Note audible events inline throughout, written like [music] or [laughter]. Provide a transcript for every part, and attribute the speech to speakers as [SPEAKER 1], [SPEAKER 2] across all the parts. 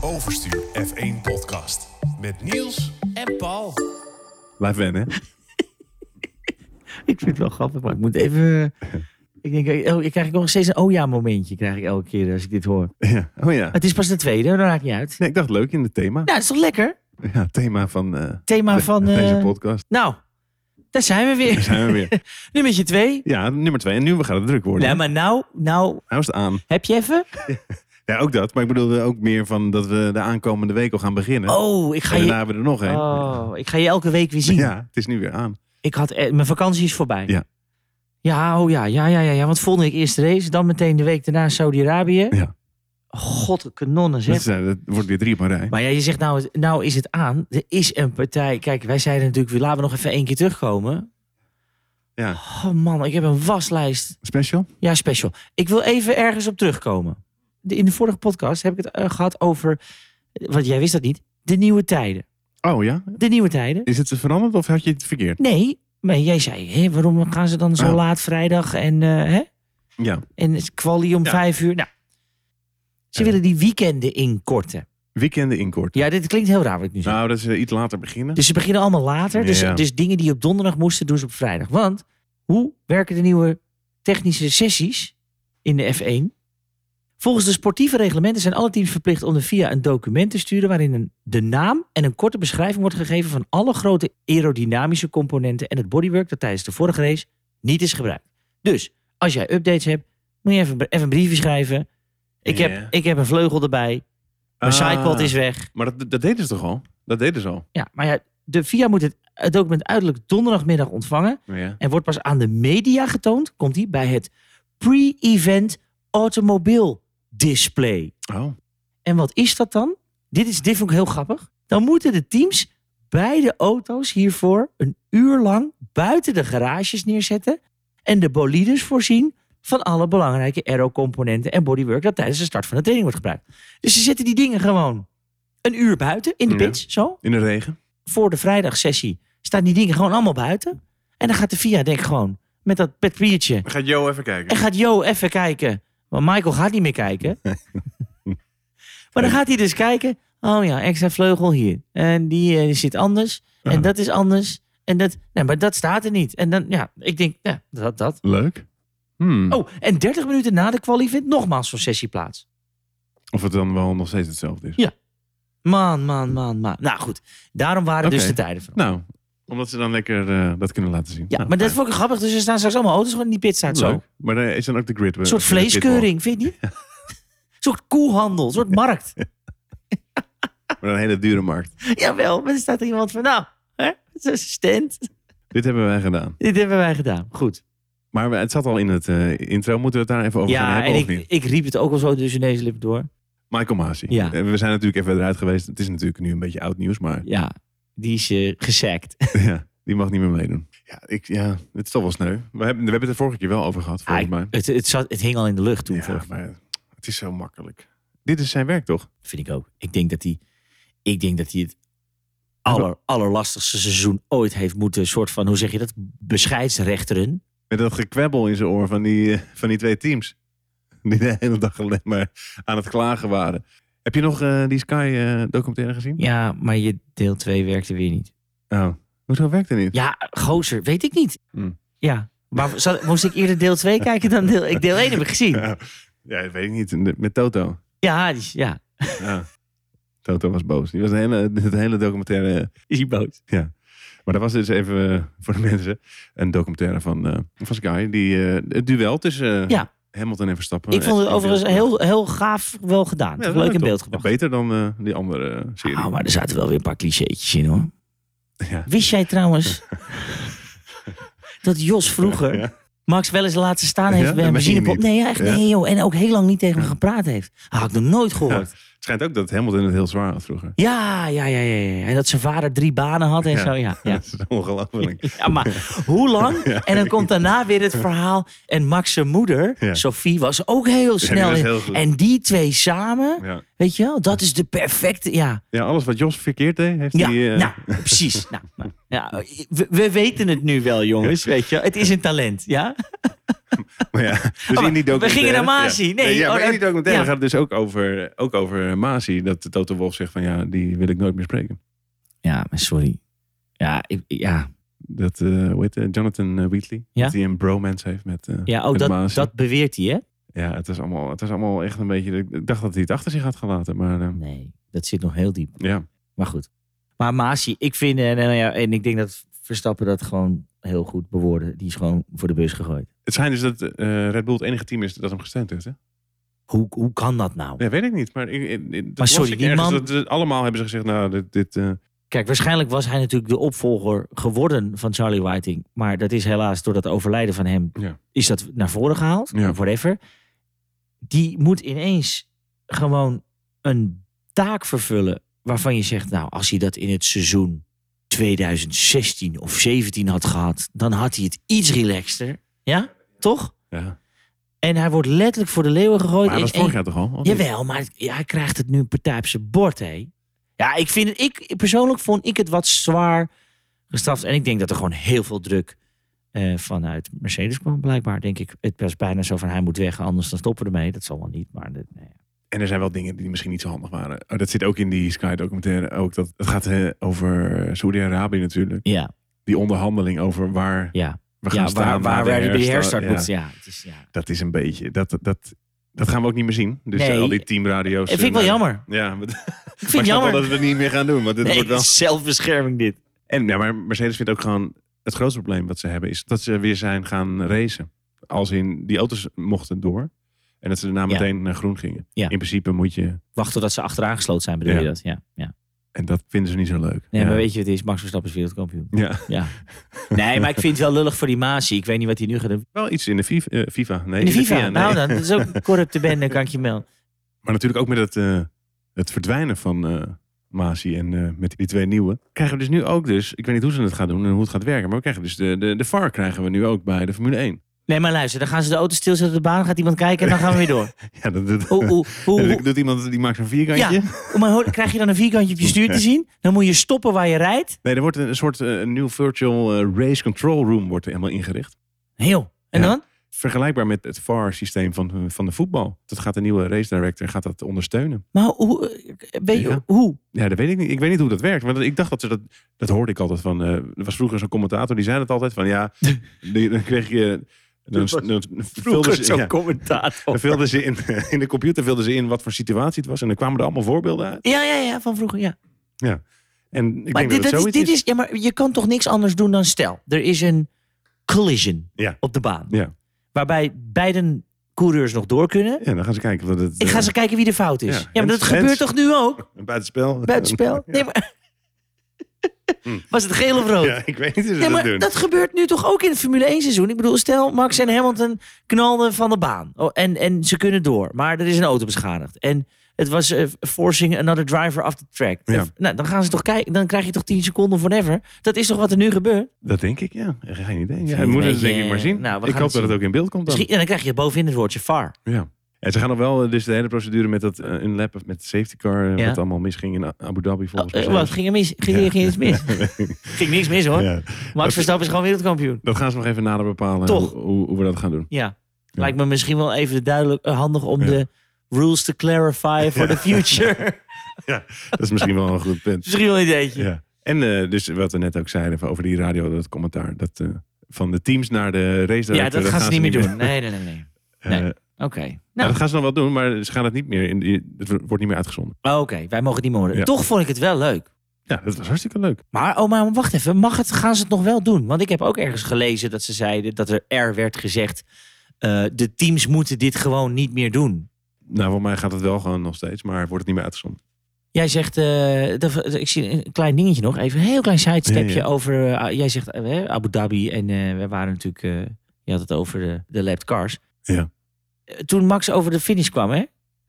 [SPEAKER 1] Overstuur F1 Podcast. Met Niels
[SPEAKER 2] En Paul.
[SPEAKER 3] Blijf
[SPEAKER 2] [laughs]
[SPEAKER 3] wennen. hè?
[SPEAKER 2] Ik vind het wel grappig, maar ik moet even... Ik denk, eh, oh, ik krijg nog steeds een oh ja momentje krijg ik elke keer als ik dit hoor.
[SPEAKER 3] Ja. Oh ja.
[SPEAKER 2] Het is pas de tweede, dat raakt niet uit.
[SPEAKER 3] Nee, ik dacht leuk in het thema.
[SPEAKER 2] Nou, dat is toch lekker?
[SPEAKER 3] Ja, het thema van, eh,
[SPEAKER 2] Thema
[SPEAKER 3] de-
[SPEAKER 2] van...
[SPEAKER 3] deze
[SPEAKER 2] eh,
[SPEAKER 3] podcast.
[SPEAKER 2] nou, daar zijn we
[SPEAKER 3] Daar [laughs]
[SPEAKER 2] weer.
[SPEAKER 3] zijn we
[SPEAKER 2] [laughs]
[SPEAKER 3] weer.
[SPEAKER 2] Nummertje twee.
[SPEAKER 3] Ja, nummer twee. En nu we gaan het druk worden.
[SPEAKER 2] Nou, maar nou, nou,
[SPEAKER 3] Nou is het aan.
[SPEAKER 2] heb je even?
[SPEAKER 3] Ja, ook dat. Maar ik bedoelde ook meer van dat we de aankomende week al gaan beginnen.
[SPEAKER 2] Oh, ik ga
[SPEAKER 3] en daarna
[SPEAKER 2] je,
[SPEAKER 3] hebben we er nog een.
[SPEAKER 2] oh, ik ga je elke week weer zien.
[SPEAKER 3] Ja, het is nu weer aan.
[SPEAKER 2] Ik had, eh, mijn vakantie is voorbij.
[SPEAKER 3] Ja.
[SPEAKER 2] Ja, oh ja, ja, ja, ja, ja. Want volgende week eerst de race, dan meteen de week daarna Saudi-Arabië.
[SPEAKER 3] Ja.
[SPEAKER 2] God, de kanonnen
[SPEAKER 3] Dat,
[SPEAKER 2] zeg.
[SPEAKER 3] is, eh, dat wordt weer drie op een rij.
[SPEAKER 2] Maar ja, je zegt nou, het- nou is het aan. Er is een partij. Kijk, wij zeiden natuurlijk, laten we nog even één keer terugkomen.
[SPEAKER 3] Ja.
[SPEAKER 2] Oh man, ik heb een waslijst.
[SPEAKER 3] Special?
[SPEAKER 2] Ja, special. Ik wil even ergens op terugkomen. De- in de vorige podcast heb ik het eh, gehad over, want jij wist dat niet, de nieuwe tijden.
[SPEAKER 3] Oh ja?
[SPEAKER 2] De nieuwe tijden.
[SPEAKER 3] Is het veranderd of had je het verkeerd?
[SPEAKER 2] Nee, maar jij zei, hé, waarom gaan ze dan zo
[SPEAKER 3] Ja.
[SPEAKER 2] laat vrijdag en, eh hè?
[SPEAKER 3] Ja.
[SPEAKER 2] en het kwalie om
[SPEAKER 3] Ja.
[SPEAKER 2] vijf uur? Nou, ze
[SPEAKER 3] Ja.
[SPEAKER 2] willen die weekenden inkorten.
[SPEAKER 3] Weekenden inkort.
[SPEAKER 2] Ja, dit klinkt heel raar wat ik nu zeg.
[SPEAKER 3] Nou, dat ze iets later beginnen.
[SPEAKER 2] Dus ze beginnen allemaal later. Dus,
[SPEAKER 3] Ja.
[SPEAKER 2] dus dingen die je op donderdag moesten, doen ze op vrijdag. Want hoe werken de nieuwe technische sessies in de F1? Volgens de sportieve reglementen zijn alle teams verplicht om de VIA een document te sturen waarin een, de naam en een korte beschrijving wordt gegeven van alle grote aerodynamische componenten en het bodywork dat tijdens de vorige race niet is gebruikt. Dus als jij updates hebt, moet je even, even een briefje schrijven. Ik,
[SPEAKER 3] Ja.
[SPEAKER 2] heb, ik heb een vleugel erbij.
[SPEAKER 3] Ah,
[SPEAKER 2] Mijn sidepod is weg.
[SPEAKER 3] Maar dat, dat deden ze toch al? Dat deden ze al.
[SPEAKER 2] Ja, maar ja, de VIA moet het, het document uiterlijk donderdagmiddag ontvangen.
[SPEAKER 3] Ja.
[SPEAKER 2] En wordt pas aan de media getoond, komt die, bij het pre-event automobiel display.
[SPEAKER 3] Oh.
[SPEAKER 2] En wat is dat dan? Dit, is, dit vond ik heel grappig. Dan moeten de teams beide auto's hiervoor een uur lang buiten de garages neerzetten. En de bolides voorzien van alle belangrijke aero-componenten en bodywork dat tijdens de start van de training wordt gebruikt. Dus ze zetten die dingen gewoon een uur buiten in de
[SPEAKER 3] Ja.
[SPEAKER 2] pits, zo
[SPEAKER 3] In de regen?
[SPEAKER 2] voor de vrijdagsessie staan die dingen gewoon allemaal buiten. En dan gaat de VIA denk ik gewoon met dat petbiertje.
[SPEAKER 3] Gaat Jo even
[SPEAKER 2] En [laughs]
[SPEAKER 3] kijken.
[SPEAKER 2] gaat Jo even kijken. Want Michael gaat niet meer kijken.
[SPEAKER 3] [laughs]
[SPEAKER 2] maar dan gaat hij dus kijken. Oh ja, extra vleugel hier. En die eh, zit anders. En
[SPEAKER 3] Ah.
[SPEAKER 2] dat is anders. En dat, nee, maar dat staat er niet. En dan, ja, ik denk, ja, dat, dat.
[SPEAKER 3] Leuk. Hmm.
[SPEAKER 2] Oh, en 30 minuten na de quali vindt nogmaals zo'n sessie plaats.
[SPEAKER 3] Of het dan wel nog steeds hetzelfde is.
[SPEAKER 2] Man, man, man, man. Nou goed, daarom waren dus
[SPEAKER 3] Oké.
[SPEAKER 2] de tijden van.
[SPEAKER 3] Nou, omdat ze dan lekker eh, dat kunnen laten zien.
[SPEAKER 2] Ja,
[SPEAKER 3] Nou,
[SPEAKER 2] maar dat
[SPEAKER 3] fijn.
[SPEAKER 2] vond ik grappig. Dus er staan straks allemaal auto's gewoon in die pit staat zo.
[SPEAKER 3] Leuk. Maar daar is dan ook de grid.
[SPEAKER 2] Een soort vleeskeuring, vind je niet?
[SPEAKER 3] [laughs]
[SPEAKER 2] Een soort koehandel, een soort markt. [laughs]
[SPEAKER 3] Maar een hele dure markt.
[SPEAKER 2] Jawel, maar er staat er iemand van, nou, hè, het is een stand.
[SPEAKER 3] Dit hebben wij gedaan.
[SPEAKER 2] Dit hebben wij gedaan. Goed.
[SPEAKER 3] Maar we- het zat al in het eh, intro. Moeten we het daar even over gaan
[SPEAKER 2] ja,
[SPEAKER 3] hebben
[SPEAKER 2] en
[SPEAKER 3] of
[SPEAKER 2] ik,
[SPEAKER 3] niet?
[SPEAKER 2] ik riep het ook al zo tussen deze lippen door.
[SPEAKER 3] Michael Masi.
[SPEAKER 2] Ja.
[SPEAKER 3] Eh, We zijn natuurlijk even eruit geweest. Het is natuurlijk nu een beetje oud nieuws,
[SPEAKER 2] [laughs]
[SPEAKER 3] maar
[SPEAKER 2] Ja, die is eh gesackt.
[SPEAKER 3] ja, die mag niet meer meedoen. Ja, ik, ja het is toch wel sneu. We hebben, we hebben het er vorige keer wel over gehad, volgens
[SPEAKER 2] Ah,
[SPEAKER 3] mij.
[SPEAKER 2] het, het, zat, het hing al in de lucht toen.
[SPEAKER 3] Ja,
[SPEAKER 2] volgens mij.
[SPEAKER 3] maar het is zo makkelijk. Dit is zijn werk, toch?
[SPEAKER 2] Vind ik ook. Ik denk dat hij, ik denk dat hij het aller, allerlastigste seizoen ooit heeft moeten, soort van, hoe zeg je dat, bescheidsrechteren.
[SPEAKER 3] Met dat gekwebbel in zijn oor van die, eh, van die twee teams. Die de hele dag alleen maar aan het klagen waren. Heb je nog eh, die Sky-documentaire gezien?
[SPEAKER 2] Ja, maar je deel 2 werkte weer niet.
[SPEAKER 3] Oh, hoezo werkt het niet?
[SPEAKER 2] Ja, gozer, weet ik niet.
[SPEAKER 3] Hmm.
[SPEAKER 2] Ja, maar zal- moest ik eerder deel 2 kijken dan deel... Ik deel 1 heb ik
[SPEAKER 3] [laughs]
[SPEAKER 2] gezien.
[SPEAKER 3] Ja, dat weet ik niet. Met Toto.
[SPEAKER 2] Ja, die is- ja.
[SPEAKER 3] Ja. Toto was boos. Die was de hele, [laughs] het hele documentaire eh,
[SPEAKER 2] is hij boos.
[SPEAKER 3] Maar dat was dus even eh, voor de mensen een documentaire van, eh van Sky. Die, eh, het duel tussen eh,
[SPEAKER 2] Ja.
[SPEAKER 3] Hamilton en Verstappen.
[SPEAKER 2] Ik vond het
[SPEAKER 3] En-
[SPEAKER 2] overigens
[SPEAKER 3] en-
[SPEAKER 2] heel, heel gaaf wel gedaan.
[SPEAKER 3] Ja,
[SPEAKER 2] Leuk in
[SPEAKER 3] toch?
[SPEAKER 2] beeld gebracht.
[SPEAKER 3] Beter dan eh, die andere eh, serie.
[SPEAKER 2] Nou, maar er zaten wel weer een paar clichétjes in hoor.
[SPEAKER 3] [laughs] Ja.
[SPEAKER 2] Wist jij
[SPEAKER 3] [laughs]
[SPEAKER 2] trouwens dat Jos vroeger
[SPEAKER 3] Ja.
[SPEAKER 2] Max wel eens laten staan heeft
[SPEAKER 3] Ja,
[SPEAKER 2] bij
[SPEAKER 3] dat
[SPEAKER 2] een
[SPEAKER 3] meen je
[SPEAKER 2] benzinepomp?
[SPEAKER 3] niet.
[SPEAKER 2] Nee, ja, echt
[SPEAKER 3] Ja.
[SPEAKER 2] nee joh. En ook heel lang niet tegen hem gepraat heeft. Had ik nog nooit
[SPEAKER 3] Ja.
[SPEAKER 2] gehoord.
[SPEAKER 3] Het schijnt ook dat Hamilton het heel zwaar had vroeger.
[SPEAKER 2] Ja, ja, ja, ja. ja. En dat zijn vader drie banen had en
[SPEAKER 3] Ja.
[SPEAKER 2] zo. Ja,
[SPEAKER 3] [laughs]
[SPEAKER 2] ja.
[SPEAKER 3] Dat is
[SPEAKER 2] [laughs]
[SPEAKER 3] ongelooflijk.
[SPEAKER 2] Ja, maar hoe lang?
[SPEAKER 3] [laughs] Ja.
[SPEAKER 2] En dan komt daarna weer het verhaal. En Max zijn moeder,
[SPEAKER 3] Ja.
[SPEAKER 2] Sophie, was ook heel snel.
[SPEAKER 3] was
[SPEAKER 2] in-
[SPEAKER 3] heel goed.
[SPEAKER 2] en die twee samen,
[SPEAKER 3] Ja.
[SPEAKER 2] weet je wel, dat is de perfecte. Ja,
[SPEAKER 3] ja, alles wat Jos verkeerd deed, heeft
[SPEAKER 2] ja
[SPEAKER 3] hij... eh,
[SPEAKER 2] nou, precies. Nou, nou, ja, we, we weten het nu wel, jongens. Weet je, wel. het is een talent, ja?
[SPEAKER 3] Maar [laughs] ja, dus
[SPEAKER 2] maar
[SPEAKER 3] in die
[SPEAKER 2] Oh, we
[SPEAKER 3] documentaire-
[SPEAKER 2] gingen naar Masi.
[SPEAKER 3] Ja.
[SPEAKER 2] Nee,
[SPEAKER 3] ja,
[SPEAKER 2] oh,
[SPEAKER 3] maar in die
[SPEAKER 2] dat-
[SPEAKER 3] documentaire
[SPEAKER 2] ja.
[SPEAKER 3] gaat het dus ook over, ook over Masi. Dat Toto Wolf zegt van ja, die wil ik nooit meer spreken.
[SPEAKER 2] Ja, maar sorry. Ja, ik- ja.
[SPEAKER 3] Dat, eh hoe heet het? Jonathan eh, Wheatley.
[SPEAKER 2] Ja.
[SPEAKER 3] Dat hij een bromance heeft met, eh,
[SPEAKER 2] ja oh,
[SPEAKER 3] met
[SPEAKER 2] dat,
[SPEAKER 3] Masi.
[SPEAKER 2] dat beweert hij, hè?
[SPEAKER 3] Ja, het is, allemaal, het is allemaal echt een beetje... Ik dacht dat hij het achter zich had gelaten, maar eh,
[SPEAKER 2] Nee, dat zit nog heel diep.
[SPEAKER 3] ja.
[SPEAKER 2] Maar goed. Maar Masi, ik vind, eh, nou ja, en ik denk dat Verstappen dat gewoon heel goed bewoordde. Die is gewoon voor de bus gegooid.
[SPEAKER 3] Het schijnt dus dat eh, Red Bull het enige team is dat hem gesteund heeft, hè?
[SPEAKER 2] Hoe, hoe kan dat nou?
[SPEAKER 3] Ja, weet ik niet, maar... Ik, ik- ik- dat
[SPEAKER 2] Maar sorry,
[SPEAKER 3] las ik
[SPEAKER 2] die
[SPEAKER 3] ergens,
[SPEAKER 2] man-
[SPEAKER 3] dat- dat- allemaal hebben ze gezegd, nou, dit... dit eh,
[SPEAKER 2] Kijk, waarschijnlijk was hij natuurlijk de opvolger geworden van Charlie Whiting. Maar dat is helaas door dat overlijden van hem,
[SPEAKER 3] Ja.
[SPEAKER 2] is dat naar voren gehaald.
[SPEAKER 3] Ja.
[SPEAKER 2] of Whatever. Die moet ineens gewoon een taak vervullen waarvan je zegt, nou, als hij dat in het seizoen 2016 of 17 had gehad, dan had hij het iets relaxter. Ja, toch?
[SPEAKER 3] ja.
[SPEAKER 2] En hij wordt letterlijk voor de leeuwen gegooid.
[SPEAKER 3] Maar dat was
[SPEAKER 2] in één-
[SPEAKER 3] vorig jaar toch al? of niet?
[SPEAKER 2] Jawel, maar het- ja, hij krijgt het nu een partij op zijn bord, hé. Ja, ik vind het, ik, persoonlijk vond ik het wat zwaar gestraft. En ik denk dat er gewoon heel veel druk eh, vanuit Mercedes kwam, blijkbaar. Denk ik, het was bijna zo van hij moet weg, anders dan stoppen we ermee. Dat zal wel niet, maar dat- nee.
[SPEAKER 3] En er zijn wel dingen die misschien niet zo handig waren. Oh, dat zit ook in die Sky-documentaire. Ook dat, het gaat eh, over Saudi-Arabië natuurlijk.
[SPEAKER 2] Ja,
[SPEAKER 3] Die onderhandeling over waar
[SPEAKER 2] ja.
[SPEAKER 3] we gaan
[SPEAKER 2] ja
[SPEAKER 3] staan.
[SPEAKER 2] waar,
[SPEAKER 3] na
[SPEAKER 2] waar
[SPEAKER 3] de
[SPEAKER 2] wij bij de
[SPEAKER 3] herstart.
[SPEAKER 2] herstart
[SPEAKER 3] Ja,
[SPEAKER 2] moeten. Ja, het is, ja.
[SPEAKER 3] Dat is een beetje... Dat, dat, dat gaan we ook niet meer zien. Dus
[SPEAKER 2] Nee.
[SPEAKER 3] al die teamradio's...
[SPEAKER 2] Dat vind ik wel
[SPEAKER 3] eh,
[SPEAKER 2] jammer.
[SPEAKER 3] Ja, [laughs] maar, ik
[SPEAKER 2] Ik
[SPEAKER 3] snap
[SPEAKER 2] vind het
[SPEAKER 3] wel
[SPEAKER 2] jammer.
[SPEAKER 3] dat we het niet meer gaan doen. Want dit
[SPEAKER 2] Nee,
[SPEAKER 3] wordt wel...
[SPEAKER 2] zelfbescherming dit.
[SPEAKER 3] En, ja, maar Mercedes vindt ook gewoon... Het grootste probleem wat ze hebben is dat ze weer zijn gaan racen. Als in, die auto's mochten door. En dat ze daarna meteen naar groen gingen.
[SPEAKER 2] Ja.
[SPEAKER 3] In principe moet je...
[SPEAKER 2] Wacht totdat ze achteraan gesloten zijn, bedoel
[SPEAKER 3] Ja.
[SPEAKER 2] je dat? Ja, ja.
[SPEAKER 3] En dat vinden ze niet zo leuk.
[SPEAKER 2] Nee,
[SPEAKER 3] ja.
[SPEAKER 2] maar weet je wat het is? Max Verstappen is wereldkampioen.
[SPEAKER 3] Ja.
[SPEAKER 2] Ja. [laughs] Nee, maar ik vind het wel lullig voor die Masi. Ik weet niet wat hij nu gaat doen.
[SPEAKER 3] Wel iets in de FIFA. eh, FIFA. Nee,
[SPEAKER 2] In de FIFA.
[SPEAKER 3] nee.
[SPEAKER 2] Nou dan, dat is ook een corrupte bende, kan ik je melden.
[SPEAKER 3] [laughs] Maar natuurlijk ook met het, eh, het verdwijnen van eh Masi en eh, met die twee nieuwe. Krijgen we dus nu ook dus, ik weet niet hoe ze het gaan doen en hoe het gaat werken. Maar we krijgen dus de, de, de VAR krijgen we nu ook bij de Formule 1.
[SPEAKER 2] Nee, maar luister, dan gaan ze de auto stilzetten op de baan, gaat iemand kijken en dan gaan we weer door.
[SPEAKER 3] Ja, dat, dat,
[SPEAKER 2] Hoe,
[SPEAKER 3] [laughs]
[SPEAKER 2] hoe, hoe,
[SPEAKER 3] dat doet iemand die maakt zo'n vierkantje.
[SPEAKER 2] Ja. hoe- maar hoor, krijg je dan een vierkantje op je stuur te zien? Dan moet je stoppen waar je rijdt.
[SPEAKER 3] Nee, er wordt een, een soort eh, een nieuw virtual eh, race control room wordt er helemaal ingericht.
[SPEAKER 2] Heel. En
[SPEAKER 3] Ja.
[SPEAKER 2] dan?
[SPEAKER 3] Vergelijkbaar met het VAR-systeem van, van de voetbal. Dat gaat de nieuwe race director gaat dat ondersteunen.
[SPEAKER 2] Maar hoe, eh, weet je,
[SPEAKER 3] Ja.
[SPEAKER 2] hoe?
[SPEAKER 3] Ja, dat weet ik niet. Ik weet niet hoe dat werkt. Want ik dacht dat ze dat. Dat hoorde ik altijd van. eh, er was vroeger zo'n commentator die zei dat altijd van
[SPEAKER 2] [laughs]
[SPEAKER 3] ja. die- dan kreeg je. Dan,
[SPEAKER 2] Dat was
[SPEAKER 3] dan, vulden ze, dus- ja, dan
[SPEAKER 2] commentator.
[SPEAKER 3] vulden ze in, [laughs] in de computer vulden ze in wat voor situatie het was. En dan kwamen er allemaal voorbeelden uit.
[SPEAKER 2] Ja, ja, ja, van vroeger, ja.
[SPEAKER 3] En ik
[SPEAKER 2] Maar,
[SPEAKER 3] denk dat
[SPEAKER 2] dit,
[SPEAKER 3] het
[SPEAKER 2] dat is,
[SPEAKER 3] zoiets
[SPEAKER 2] dit
[SPEAKER 3] is.
[SPEAKER 2] is, ja, maar je kan toch niks anders doen dan stel. Er is een collision
[SPEAKER 3] Ja.
[SPEAKER 2] op de baan.
[SPEAKER 3] Ja.
[SPEAKER 2] Waarbij beide coureurs nog door kunnen.
[SPEAKER 3] Ja, dan gaan ze kijken. Wat het,
[SPEAKER 2] Ik ga
[SPEAKER 3] eh,
[SPEAKER 2] ze kijken wie de fout is.
[SPEAKER 3] Ja,
[SPEAKER 2] Ja, maar dat
[SPEAKER 3] Hens-
[SPEAKER 2] gebeurt
[SPEAKER 3] Hens.
[SPEAKER 2] toch nu ook?
[SPEAKER 3] een buitenspel. [laughs]
[SPEAKER 2] Buitenspel? Nee, maar... Was het geel of rood?
[SPEAKER 3] Hm. Ja, ik weet niet hoe ze
[SPEAKER 2] Ja,
[SPEAKER 3] dat
[SPEAKER 2] maar
[SPEAKER 3] doen.
[SPEAKER 2] dat gebeurt nu toch ook in het Formule 1 seizoen? Ik bedoel, stel Max en Hamilton knalden van de baan. Oh, en, en ze kunnen door, maar er is een auto beschadigd. En het was eh, forcing another driver off the track.
[SPEAKER 3] Ja.
[SPEAKER 2] Eh, nou, dan gaan ze toch kijken, dan krijg je toch 10 seconden of whatever. Dat is toch wat er nu gebeurt?
[SPEAKER 3] Dat denk ik, ja. Geen idee. Ja,
[SPEAKER 2] het
[SPEAKER 3] moeten
[SPEAKER 2] een
[SPEAKER 3] ze denk
[SPEAKER 2] beetje-
[SPEAKER 3] ik maar zien.
[SPEAKER 2] Nou, we
[SPEAKER 3] ik
[SPEAKER 2] gaan
[SPEAKER 3] hoop dat
[SPEAKER 2] het
[SPEAKER 3] het
[SPEAKER 2] zien.
[SPEAKER 3] ook in beeld komt dan.
[SPEAKER 2] Misschien, en dan krijg je bovenin het woordje VAR.
[SPEAKER 3] Ja. En ze gaan nog wel eh, dus de hele procedure met dat eh, een lap met de safety car, eh,
[SPEAKER 2] Ja.
[SPEAKER 3] wat allemaal misging in A- Abu Dhabi volgens
[SPEAKER 2] Oh,
[SPEAKER 3] mij.
[SPEAKER 2] eh, wat, ging er mis? Ging,
[SPEAKER 3] Ja.
[SPEAKER 2] ging iets
[SPEAKER 3] [laughs]
[SPEAKER 2] mis? ging niks mis hoor.
[SPEAKER 3] Ja.
[SPEAKER 2] Max Verstappen is gewoon wereldkampioen.
[SPEAKER 3] Dat gaan ze nog even nader bepalen
[SPEAKER 2] Toch.
[SPEAKER 3] Hoe, hoe, hoe we dat gaan
[SPEAKER 2] [laughs]
[SPEAKER 3] doen.
[SPEAKER 2] Ja. Lijkt me misschien wel even duidelijk eh, handig om
[SPEAKER 3] Ja.
[SPEAKER 2] de rules te [laughs] clarify for the future.
[SPEAKER 3] Dat is misschien wel een goed punt.
[SPEAKER 2] misschien wel een ideetje.
[SPEAKER 3] Ja. En eh, dus wat we net ook zeiden van over die radio, dat commentaar, dat eh, van de teams naar de race.
[SPEAKER 2] Ja, dat gaan ze niet meer doen. Nee, nee, nee. nee.
[SPEAKER 3] Eh,
[SPEAKER 2] Nee.
[SPEAKER 3] nou,
[SPEAKER 2] Oké. Nou,
[SPEAKER 3] dat gaan ze nog wel doen, maar ze gaan het niet meer. In, die- het wordt niet meer uitgezonden.
[SPEAKER 2] oh, oké. Wij mogen het niet meer horen.
[SPEAKER 3] Ja.
[SPEAKER 2] Toch vond ik het wel leuk.
[SPEAKER 3] Ja, dat was hartstikke leuk.
[SPEAKER 2] Maar, oh, maar wacht even. Mag het, gaan ze het nog wel doen? Want ik heb ook ergens gelezen dat ze zeiden dat er, er werd gezegd... eh, de teams moeten dit gewoon niet meer doen.
[SPEAKER 3] Nou, voor mij gaat het wel gewoon nog steeds, maar wordt het niet meer uitgezonden.
[SPEAKER 2] Jij zegt, eh, dat, ik zie een klein dingetje nog, even een heel klein sidestepje
[SPEAKER 3] Ja, ja.
[SPEAKER 2] over, eh, jij zegt eh, Abu Dhabi en eh, we waren natuurlijk, eh, je had het over de, de lapped cars.
[SPEAKER 3] Ja.
[SPEAKER 2] Eh, toen Max over de finish kwam, hè,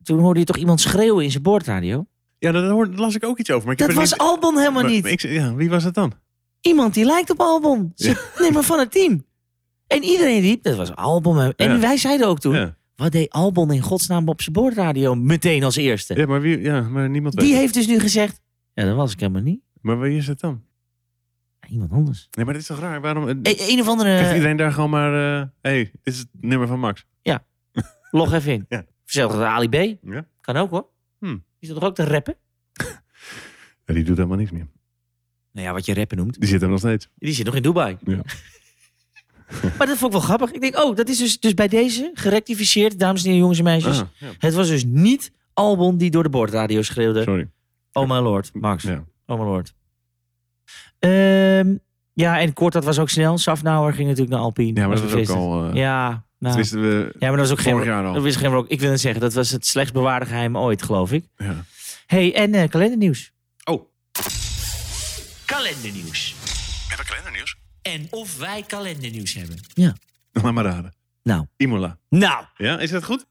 [SPEAKER 2] toen hoorde je toch iemand schreeuwen in zijn boordradio?
[SPEAKER 3] Ja, daar hoorde- las ik ook iets over. Maar ik
[SPEAKER 2] Dat
[SPEAKER 3] heb er
[SPEAKER 2] was
[SPEAKER 3] niet-
[SPEAKER 2] Albon helemaal niet.
[SPEAKER 3] ik- ja, wie was het dan?
[SPEAKER 2] Iemand die lijkt op Albon. Zit, Nee, maar van het team. En iedereen riep, dat was Albon. En
[SPEAKER 3] Ja.
[SPEAKER 2] wij zeiden ook toen,
[SPEAKER 3] Ja.
[SPEAKER 2] wat deed Albon in godsnaam op zijn boordradio meteen als eerste?
[SPEAKER 3] Ja, maar, wie, ja, maar niemand weet.
[SPEAKER 2] Die heeft dus nu gezegd, ja, dat was ik helemaal niet.
[SPEAKER 3] Maar wie is het dan?
[SPEAKER 2] iemand anders.
[SPEAKER 3] Nee, maar dit is toch raar? Waarom eh,
[SPEAKER 2] E- een of andere...
[SPEAKER 3] krijgt iedereen daar gewoon maar... Hé, hey, dit is het nummer van Max.
[SPEAKER 2] Log even in.
[SPEAKER 3] Ja.
[SPEAKER 2] Verzelfde de Ali B.
[SPEAKER 3] Ja.
[SPEAKER 2] Kan ook hoor.
[SPEAKER 3] Hmm.
[SPEAKER 2] Is dat toch ook te rappen?
[SPEAKER 3] Ja, die doet helemaal niks meer.
[SPEAKER 2] Nou ja, wat je rappen noemt.
[SPEAKER 3] Die zit hem nog steeds.
[SPEAKER 2] Die zit nog in Dubai.
[SPEAKER 3] Ja.
[SPEAKER 2] [laughs] maar dat vond ik wel grappig. Ik denk, oh, dat is dus, dus bij deze gerectificeerd, dames en heren, jongens en meisjes.
[SPEAKER 3] Ah, ja.
[SPEAKER 2] Het was dus niet Albon die door de boordradio schreeuwde.
[SPEAKER 3] Sorry.
[SPEAKER 2] Oh my lord, Max.
[SPEAKER 3] Ja.
[SPEAKER 2] Oh my lord. Ehm, ja, en kort, dat was ook snel. Safnauer ging natuurlijk naar Alpine.
[SPEAKER 3] ja, maar dat
[SPEAKER 2] was
[SPEAKER 3] was ook
[SPEAKER 2] bevestigd.
[SPEAKER 3] al... eh
[SPEAKER 2] Ja, nou.
[SPEAKER 3] tenminste, we...
[SPEAKER 2] ja, maar dat was ook
[SPEAKER 3] Vorig
[SPEAKER 2] geen...
[SPEAKER 3] jaar
[SPEAKER 2] Dat
[SPEAKER 3] al.
[SPEAKER 2] was geen rock. Ik wil het zeggen, dat was het slechts bewaarde geheim ooit, geloof ik.
[SPEAKER 3] Ja.
[SPEAKER 2] hey, en eh, kalendernieuws.
[SPEAKER 3] Oh. [laughs]
[SPEAKER 2] Kalendernieuws.
[SPEAKER 3] Hebben we kalendernieuws?
[SPEAKER 2] En of wij kalendernieuws hebben.
[SPEAKER 3] Laat maar raden.
[SPEAKER 2] Nou.
[SPEAKER 3] Imola.
[SPEAKER 2] Nou,
[SPEAKER 3] Ja, is dat goed?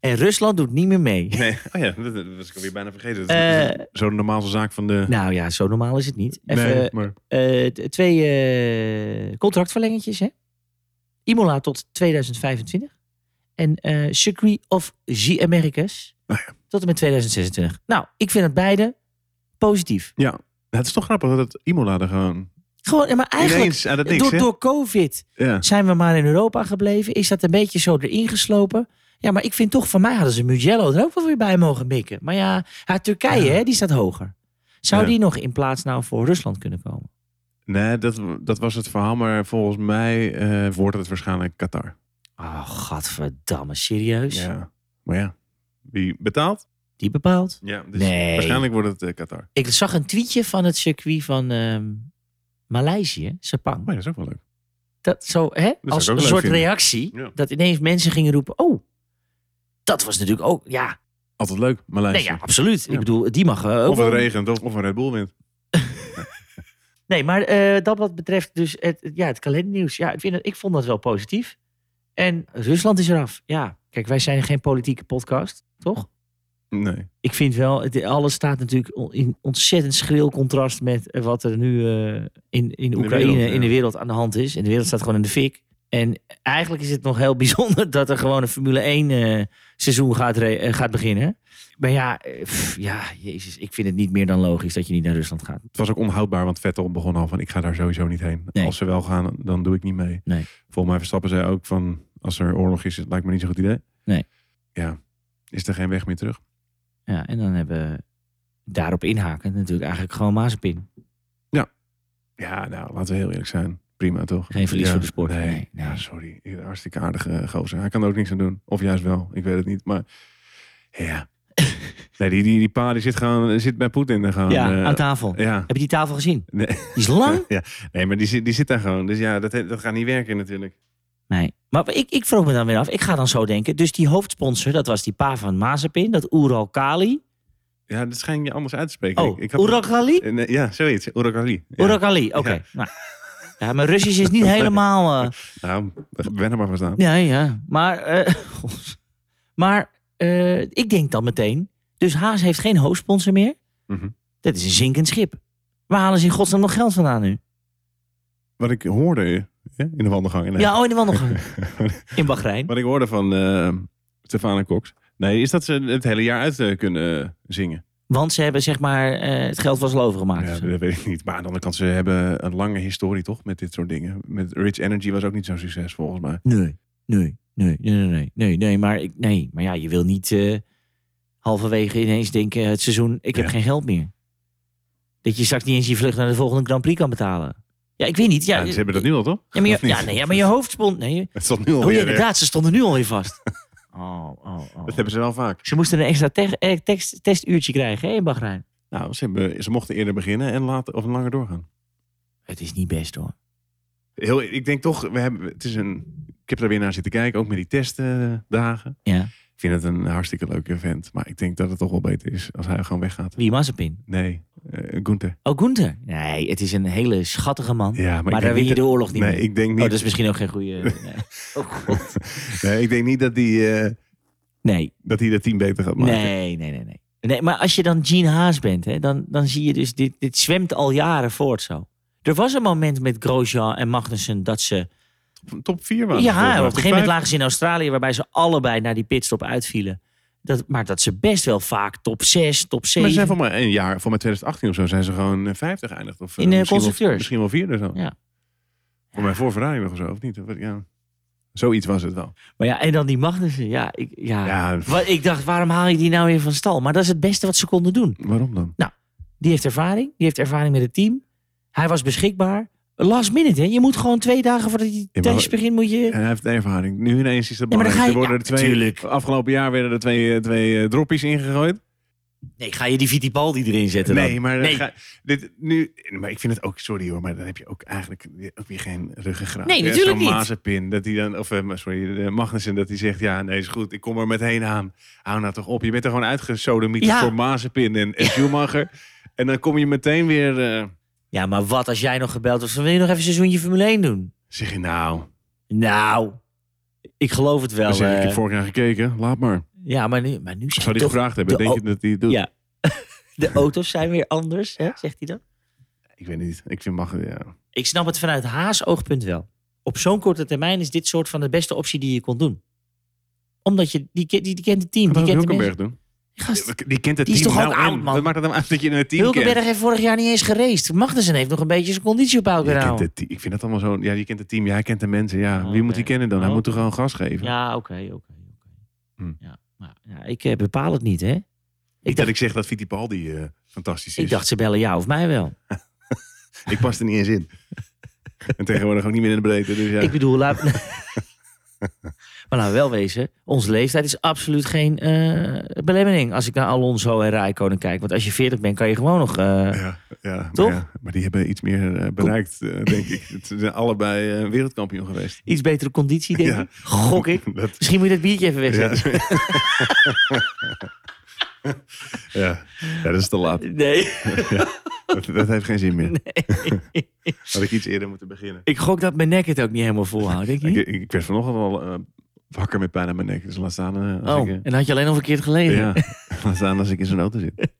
[SPEAKER 2] en Rusland doet niet meer mee. [laughs]
[SPEAKER 3] Nee. [laughs] Oh ja, dat, dat was ik alweer bijna vergeten. Dat is
[SPEAKER 2] Eh,
[SPEAKER 3] Zo'n normaalste zaak van de...
[SPEAKER 2] nou ja, zo normaal is het niet.
[SPEAKER 3] nee,
[SPEAKER 2] Even
[SPEAKER 3] maar...
[SPEAKER 2] eh, t- twee eh, contractverlengetjes, hè? Imola tot 2025. En eh Circuit of G Americas
[SPEAKER 3] Oh
[SPEAKER 2] tot en met 2026. Nou, ik vind het beide positief.
[SPEAKER 3] Ja. Het is toch grappig dat het Imola er gewoon...
[SPEAKER 2] Gewoon, eh, maar eigenlijk,
[SPEAKER 3] Ineens uit het niks,
[SPEAKER 2] door,
[SPEAKER 3] hè?
[SPEAKER 2] door COVID
[SPEAKER 3] Ja.
[SPEAKER 2] zijn we maar in Europa gebleven. Is dat een beetje zo erin geslopen? Ja, maar ik vind toch, van mij hadden ze Mugello er ook wel weer bij mogen mikken. Maar ja, ja, Turkije,
[SPEAKER 3] Ja.
[SPEAKER 2] Hè, die staat hoger. Zou
[SPEAKER 3] Ja.
[SPEAKER 2] die nog in plaats nou voor Rusland kunnen komen?
[SPEAKER 3] Nee, dat, dat was het verhaal. Maar volgens mij eh, wordt het waarschijnlijk Qatar.
[SPEAKER 2] Oh, godverdamme, serieus?
[SPEAKER 3] Ah. Ja. Maar ja, wie betaalt?
[SPEAKER 2] Die bepaalt.
[SPEAKER 3] Ja, dus
[SPEAKER 2] Nee.
[SPEAKER 3] waarschijnlijk wordt het eh, Qatar.
[SPEAKER 2] Ik zag een tweetje van het circuit van ehm, Maleisië, Sepang.
[SPEAKER 3] Maar dat is ook wel leuk.
[SPEAKER 2] Dat zo, hè,
[SPEAKER 3] ik
[SPEAKER 2] als
[SPEAKER 3] ook
[SPEAKER 2] een
[SPEAKER 3] leuk
[SPEAKER 2] soort
[SPEAKER 3] vinden.
[SPEAKER 2] reactie.
[SPEAKER 3] Ja.
[SPEAKER 2] Dat ineens mensen gingen roepen, oh, dat was natuurlijk ook, ja.
[SPEAKER 3] Altijd leuk,
[SPEAKER 2] Nee,
[SPEAKER 3] Maleisië.
[SPEAKER 2] ja, absoluut.
[SPEAKER 3] Ja.
[SPEAKER 2] Ik bedoel, die mag eh, ook
[SPEAKER 3] Of het
[SPEAKER 2] wel-
[SPEAKER 3] regent, of, of een Red Bull wint.
[SPEAKER 2] Nee, maar eh, dat wat betreft dus het, het- ja, het kalendernieuws. Ja, ik, vind het, ik vond dat wel positief. En Rusland is eraf. Ja, kijk, wij zijn geen politieke podcast, toch?
[SPEAKER 3] Nee.
[SPEAKER 2] Ik vind wel, het, alles staat natuurlijk on- in ontzettend schril contrast met eh, wat er nu eh, in, in Oekraïne,
[SPEAKER 3] wereld, ja.
[SPEAKER 2] in de wereld aan de hand is. En de wereld staat gewoon in de fik. En eigenlijk is het nog heel [laughs] bijzonder dat er gewoon een Formule 1 eh, seizoen gaat, re- eh, gaat beginnen. Maar ja, eh, pff, ja, jezus, ik vind het niet meer dan logisch dat je niet naar Rusland gaat.
[SPEAKER 3] Het was ook onhoudbaar, want Vettel begon al van... ik ga daar sowieso niet heen.
[SPEAKER 2] Nee.
[SPEAKER 3] Als ze wel gaan, dan doe ik niet mee.
[SPEAKER 2] Nee.
[SPEAKER 3] Volgens mij Verstappen zei ook van... als er oorlog is, het lijkt me niet zo'n goed idee.
[SPEAKER 2] Nee.
[SPEAKER 3] Ja, is er geen weg meer terug.
[SPEAKER 2] Ja, en dan hebben we daarop inhaken natuurlijk eigenlijk gewoon Mazepin.
[SPEAKER 3] Ja, nou, laten we heel eerlijk zijn. Prima, toch?
[SPEAKER 2] Geen verlies
[SPEAKER 3] Ja,
[SPEAKER 2] voor de sport.
[SPEAKER 3] Nee,
[SPEAKER 2] Nee, nee.
[SPEAKER 3] Ja, sorry. Hartstikke aardige eh, gozer. Hij kan er ook niks aan doen. Of juist wel, ik weet het niet. Maar
[SPEAKER 2] [laughs]
[SPEAKER 3] ja. nee, die, die, die pa die zit, gewoon, zit bij Poetin. er Gewoon,
[SPEAKER 2] ja,
[SPEAKER 3] eh,
[SPEAKER 2] aan tafel.
[SPEAKER 3] ja.
[SPEAKER 2] Heb je die tafel gezien?
[SPEAKER 3] Nee.
[SPEAKER 2] Die is
[SPEAKER 3] [laughs]
[SPEAKER 2] lang?
[SPEAKER 3] nee, maar die, zit- die zit daar gewoon. Dus ja, dat, dat gaat niet werken natuurlijk.
[SPEAKER 2] Nee. Maar ik, ik vroeg me dan weer af. Ik ga dan zo denken. Dus die hoofdsponsor, dat was die pa van Mazepin. Dat Ural Kali.
[SPEAKER 3] Ja, dat schijn je anders uit te spreken.
[SPEAKER 2] Oh, Ural Kali?
[SPEAKER 3] Eh, nee, ja, zoiets. Urakali. Ja.
[SPEAKER 2] Ural Kali, oké.
[SPEAKER 3] Ja.
[SPEAKER 2] Nou. Ja, mijn Russisch is niet
[SPEAKER 3] [laughs]
[SPEAKER 2] helemaal... eh,
[SPEAKER 3] Nou, ben er maar van staan.
[SPEAKER 2] Nee, ja. Maar, eh, [laughs] god. maar eh, ik denk dan meteen. Dus Haas heeft geen hoofdsponsor meer.
[SPEAKER 3] Mhm.
[SPEAKER 2] Dat is een zinkend schip. Waar halen ze in godsnaam nog geld vandaan nu?
[SPEAKER 3] Wat ik hoorde hè, in de wandelgang. Nee.
[SPEAKER 2] Ja, oh, in de wandelgang.
[SPEAKER 3] [laughs]
[SPEAKER 2] In Bahrein.
[SPEAKER 3] Wat ik hoorde van eh Stefana Cox. Nee, is dat ze het hele jaar uit eh, kunnen eh, zingen.
[SPEAKER 2] Want ze hebben zeg maar eh, het geld was al overgemaakt.
[SPEAKER 3] Ja, dus- dat weet ik niet. Maar aan de andere kant, ze hebben een lange historie toch met dit soort dingen. Met Rich Energy was ook niet zo'n succes volgens mij.
[SPEAKER 2] Nee, nee, nee, nee, nee, nee, nee, nee, maar, ik, nee. maar ja, je wil niet eh, halverwege ineens denken het seizoen, ik heb
[SPEAKER 3] Ja.
[SPEAKER 2] geen geld meer. Dat je straks niet eens je vlucht naar de volgende Grand Prix kan betalen. Ja, ik weet niet. Ja, eh,
[SPEAKER 3] Ja, ze hebben dat nu al toch?
[SPEAKER 2] Ja, maar
[SPEAKER 3] Of
[SPEAKER 2] je,
[SPEAKER 3] niet?
[SPEAKER 2] ja, nee, ja, maar je hoofdspond... Nee,
[SPEAKER 3] [laughs] Het stond nu
[SPEAKER 2] oh ja,
[SPEAKER 3] alweer. hè?
[SPEAKER 2] inderdaad, ze stonden nu alweer
[SPEAKER 3] [laughs]
[SPEAKER 2] vast. Oh, oh, oh.
[SPEAKER 3] dat hebben ze wel vaak.
[SPEAKER 2] Ze moesten een extra te- eh, tekst- testuurtje krijgen hè, in Bahrein.
[SPEAKER 3] Nou, ze, hebben, ze mochten eerder beginnen en later of langer doorgaan.
[SPEAKER 2] Het is niet best hoor.
[SPEAKER 3] Heel, ik denk toch, we hebben, het is een, ik heb daar weer naar zitten kijken, ook met die testdagen.
[SPEAKER 2] Ja.
[SPEAKER 3] Ik vind het een hartstikke leuk event. Maar ik denk dat het toch wel beter is als hij gewoon weggaat.
[SPEAKER 2] Wie Mazepin?
[SPEAKER 3] Nee, eh Gunther.
[SPEAKER 2] Oh, Gunther. Nee, het is een hele schattige man.
[SPEAKER 3] Ja, maar, ik
[SPEAKER 2] maar
[SPEAKER 3] denk
[SPEAKER 2] daar win
[SPEAKER 3] niet
[SPEAKER 2] je de oorlog niet
[SPEAKER 3] Nee,
[SPEAKER 2] mee.
[SPEAKER 3] ik denk niet.
[SPEAKER 2] Oh, dat is misschien ook geen goede.
[SPEAKER 3] [laughs]
[SPEAKER 2] Nee. Oh, God.
[SPEAKER 3] nee, ik denk niet dat hij eh,
[SPEAKER 2] Nee,
[SPEAKER 3] dat, hij dat team beter gaat maken.
[SPEAKER 2] nee, nee, nee, nee. Nee, maar als je dan Gene Haas bent, hè, dan, dan zie je dus, dit, dit zwemt al jaren voort zo. Er was een moment met Grosjean en Magnussen dat ze...
[SPEAKER 3] Top 4 waren. ze volgens
[SPEAKER 2] Ja,
[SPEAKER 3] mij.
[SPEAKER 2] op een
[SPEAKER 3] Top
[SPEAKER 2] gegeven moment
[SPEAKER 3] vijf.
[SPEAKER 2] lagen ze in Australië... waarbij ze allebei naar die pitstop uitvielen. Dat, maar dat ze best wel vaak top 6, top
[SPEAKER 3] Maar
[SPEAKER 2] 7.
[SPEAKER 3] ze zijn voor mij een jaar, voor mij 2018 of zo, zijn ze gewoon eh, 50 eindigd. Of, eh,
[SPEAKER 2] In, eh,
[SPEAKER 3] misschien wel-
[SPEAKER 2] constructeurs.
[SPEAKER 3] Misschien wel vierde of zo.
[SPEAKER 2] Ja.
[SPEAKER 3] Voor mij voor Ferrari nog of zo, of niet? Of, ja. Zoiets was het wel.
[SPEAKER 2] Maar ja, en dan die Magnussen. Ja, ik, ja.
[SPEAKER 3] Ja,
[SPEAKER 2] Wa- ik dacht, waarom haal je die nou weer van stal? Maar dat is het beste wat ze konden doen.
[SPEAKER 3] waarom dan?
[SPEAKER 2] Die heeft ervaring. Die heeft ervaring met het team. Hij was beschikbaar. Last minute, hè? Je moet gewoon twee dagen voordat die
[SPEAKER 3] maar-
[SPEAKER 2] test begint, moet je...
[SPEAKER 3] En hij heeft ervaring. Nu ineens is dat
[SPEAKER 2] Ja, maar dan
[SPEAKER 3] belangrijk.
[SPEAKER 2] ga je-
[SPEAKER 3] Er worden er
[SPEAKER 2] ja,
[SPEAKER 3] twee,
[SPEAKER 2] tuurlijk.
[SPEAKER 3] Afgelopen jaar werden er twee, eh, twee eh, droppies ingegooid.
[SPEAKER 2] Nee, ga je die Vittipaldi erin zetten dan?
[SPEAKER 3] Nee, maar, dan
[SPEAKER 2] Nee.
[SPEAKER 3] ga- dit, nu, maar ik vind het ook, sorry hoor, maar dan heb je ook eigenlijk weer- ook weer geen ruggengraat.
[SPEAKER 2] Nee,
[SPEAKER 3] Ja,
[SPEAKER 2] natuurlijk
[SPEAKER 3] Zo'n
[SPEAKER 2] niet.
[SPEAKER 3] Mazepin, dat hij dan, of eh, maar sorry, eh, Magnussen, dat hij zegt, ja nee is goed, ik kom er meteen aan. Hou nou toch op, je bent er gewoon uitgesodemieterd
[SPEAKER 2] Ja.
[SPEAKER 3] voor Mazepin en, en Schumacher. En dan kom je meteen weer, eh,
[SPEAKER 2] Ja, maar wat als jij nog gebeld was van wil je nog even een seizoentje Formule 1 doen?
[SPEAKER 3] zeg je nou,
[SPEAKER 2] Nou, ik geloof het wel.
[SPEAKER 3] dan zeg Dus ik, ik
[SPEAKER 2] eh.
[SPEAKER 3] heb vorig jaar gekeken, laat maar.
[SPEAKER 2] Ja, maar nu, maar nu zijn
[SPEAKER 3] Zou die
[SPEAKER 2] toch
[SPEAKER 3] gevraagd hebben,
[SPEAKER 2] de
[SPEAKER 3] denk
[SPEAKER 2] o-
[SPEAKER 3] je dat hij het doet?
[SPEAKER 2] Ja. de auto's zijn weer anders, hè? zegt hij dan.
[SPEAKER 3] Ik weet niet, ik vind Mag, ja.
[SPEAKER 2] Ik snap het vanuit Haas oogpunt wel. Op zo'n korte termijn is dit soort van de beste optie die je kon doen. Omdat je, die, ke- die, die kent het team, die
[SPEAKER 3] Wat
[SPEAKER 2] kent de
[SPEAKER 3] Hulkenberg
[SPEAKER 2] mensen.
[SPEAKER 3] doen?
[SPEAKER 2] Gast,
[SPEAKER 3] Die kent het
[SPEAKER 2] Die is
[SPEAKER 3] team
[SPEAKER 2] toch ook
[SPEAKER 3] nou en.
[SPEAKER 2] oud, man?
[SPEAKER 3] Wat maakt het hem uit dat je een team
[SPEAKER 2] Hulkenberg
[SPEAKER 3] kent?
[SPEAKER 2] heeft vorig jaar niet eens geraced. Magnussen heeft nog een beetje zijn conditie op elkaar
[SPEAKER 3] Je kent
[SPEAKER 2] houden.
[SPEAKER 3] het team. Ik vind dat allemaal zo. Ja, je kent het team. Ja, hij kent de mensen. Ja, wie
[SPEAKER 2] Oké.
[SPEAKER 3] moet hij kennen dan? Hij moet toch gewoon gas geven.
[SPEAKER 2] Oh, Ja, oké, oké. oké.
[SPEAKER 3] Hm.
[SPEAKER 2] Ja, maar, ja, ik eh, bepaal het niet, hè. Ik
[SPEAKER 3] Niet
[SPEAKER 2] dacht-
[SPEAKER 3] dat ik zeg dat Fittipaldi eh fantastisch is.
[SPEAKER 2] Ik dacht, ze bellen jou of mij wel.
[SPEAKER 3] Ik pas er niet eens
[SPEAKER 2] [laughs]
[SPEAKER 3] in. en tegenwoordig ook niet meer in de breedte. Dus ja.
[SPEAKER 2] Ik bedoel,
[SPEAKER 3] [laughs]
[SPEAKER 2] laat... [laughs] maar nou, wel wezen, onze leeftijd is absoluut geen eh, belemmering. Als ik naar Alonso en Rijkonen kijk. Want als je 40 bent, kan je gewoon nog... eh,
[SPEAKER 3] ja, ja, maar
[SPEAKER 2] Toch?
[SPEAKER 3] ja, maar die hebben iets meer eh, bereikt, eh, denk
[SPEAKER 2] [laughs]
[SPEAKER 3] ik. Het- Ze zijn allebei eh, wereldkampioen geweest.
[SPEAKER 2] Iets betere conditie, denk
[SPEAKER 3] Ja.
[SPEAKER 2] ik. Gok ik.
[SPEAKER 3] [laughs] Dat,
[SPEAKER 2] Misschien moet je dat biertje even
[SPEAKER 3] ja.
[SPEAKER 2] [laughs] wegzetten.
[SPEAKER 3] ja. ja, dat is te laat.
[SPEAKER 2] Nee, [laughs]
[SPEAKER 3] Dat, dat heeft geen zin meer. [laughs] Had ik iets eerder moeten beginnen.
[SPEAKER 2] ik gok dat mijn nek het ook niet helemaal volhoudt, denk je?
[SPEAKER 3] Ik, ik werd vanochtend al eh, wakker met pijn aan mijn nek. Dus laat staan, eh, als ik,
[SPEAKER 2] Oh,
[SPEAKER 3] eh,
[SPEAKER 2] en dan had je alleen al verkeerd geleden.
[SPEAKER 3] ja, [laughs] laat staan als ik in zo'n auto zit.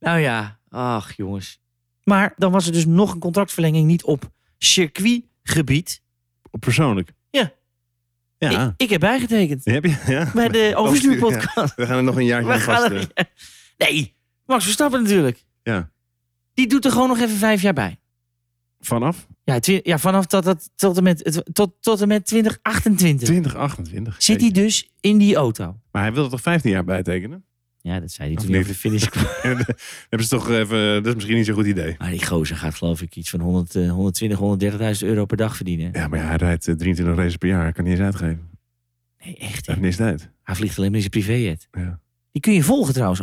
[SPEAKER 2] Nou ja, ach jongens. Maar dan was er dus nog een contractverlenging niet op circuitgebied.
[SPEAKER 3] Persoonlijk.
[SPEAKER 2] Ja. Ik,
[SPEAKER 3] Ja.
[SPEAKER 2] ik heb bijgetekend
[SPEAKER 3] Heb je? Ja.
[SPEAKER 2] bij
[SPEAKER 3] [laughs]
[SPEAKER 2] de Overstuurpodcast.
[SPEAKER 3] We gaan er nog een jaartje
[SPEAKER 2] We
[SPEAKER 3] aan
[SPEAKER 2] gaan
[SPEAKER 3] vast.
[SPEAKER 2] er-
[SPEAKER 3] eh.
[SPEAKER 2] Nee, Max Verstappen natuurlijk.
[SPEAKER 3] Ja.
[SPEAKER 2] Die doet er gewoon nog even vijf jaar bij.
[SPEAKER 3] Vanaf
[SPEAKER 2] Ja, twi- ja vanaf dat, dat, tot, en met, het- tot, tot en met 2028
[SPEAKER 3] 2028.
[SPEAKER 2] zit hij
[SPEAKER 3] Jeetje.
[SPEAKER 2] dus in die auto.
[SPEAKER 3] Maar hij wilde toch 15 jaar bijtekenen? [laughs]
[SPEAKER 2] Ja, dat zei hij
[SPEAKER 3] Of
[SPEAKER 2] toen hij
[SPEAKER 3] niet?
[SPEAKER 2] over de finish kwam.
[SPEAKER 3] Hebben ze toch even... Dat is misschien niet zo'n goed idee.
[SPEAKER 2] Maar die gozer gaat geloof ik iets van 100, eh, 120, 130.000 euro per dag verdienen.
[SPEAKER 3] Ja, maar ja, hij rijdt eh, 23 races per jaar. Hij kan niet eens uitgeven.
[SPEAKER 2] Nee, echt.
[SPEAKER 3] Hij
[SPEAKER 2] hè.
[SPEAKER 3] heeft niks tijd.
[SPEAKER 2] Hij vliegt alleen maar in zijn privéjet.
[SPEAKER 3] Ja.
[SPEAKER 2] Die kun je volgen trouwens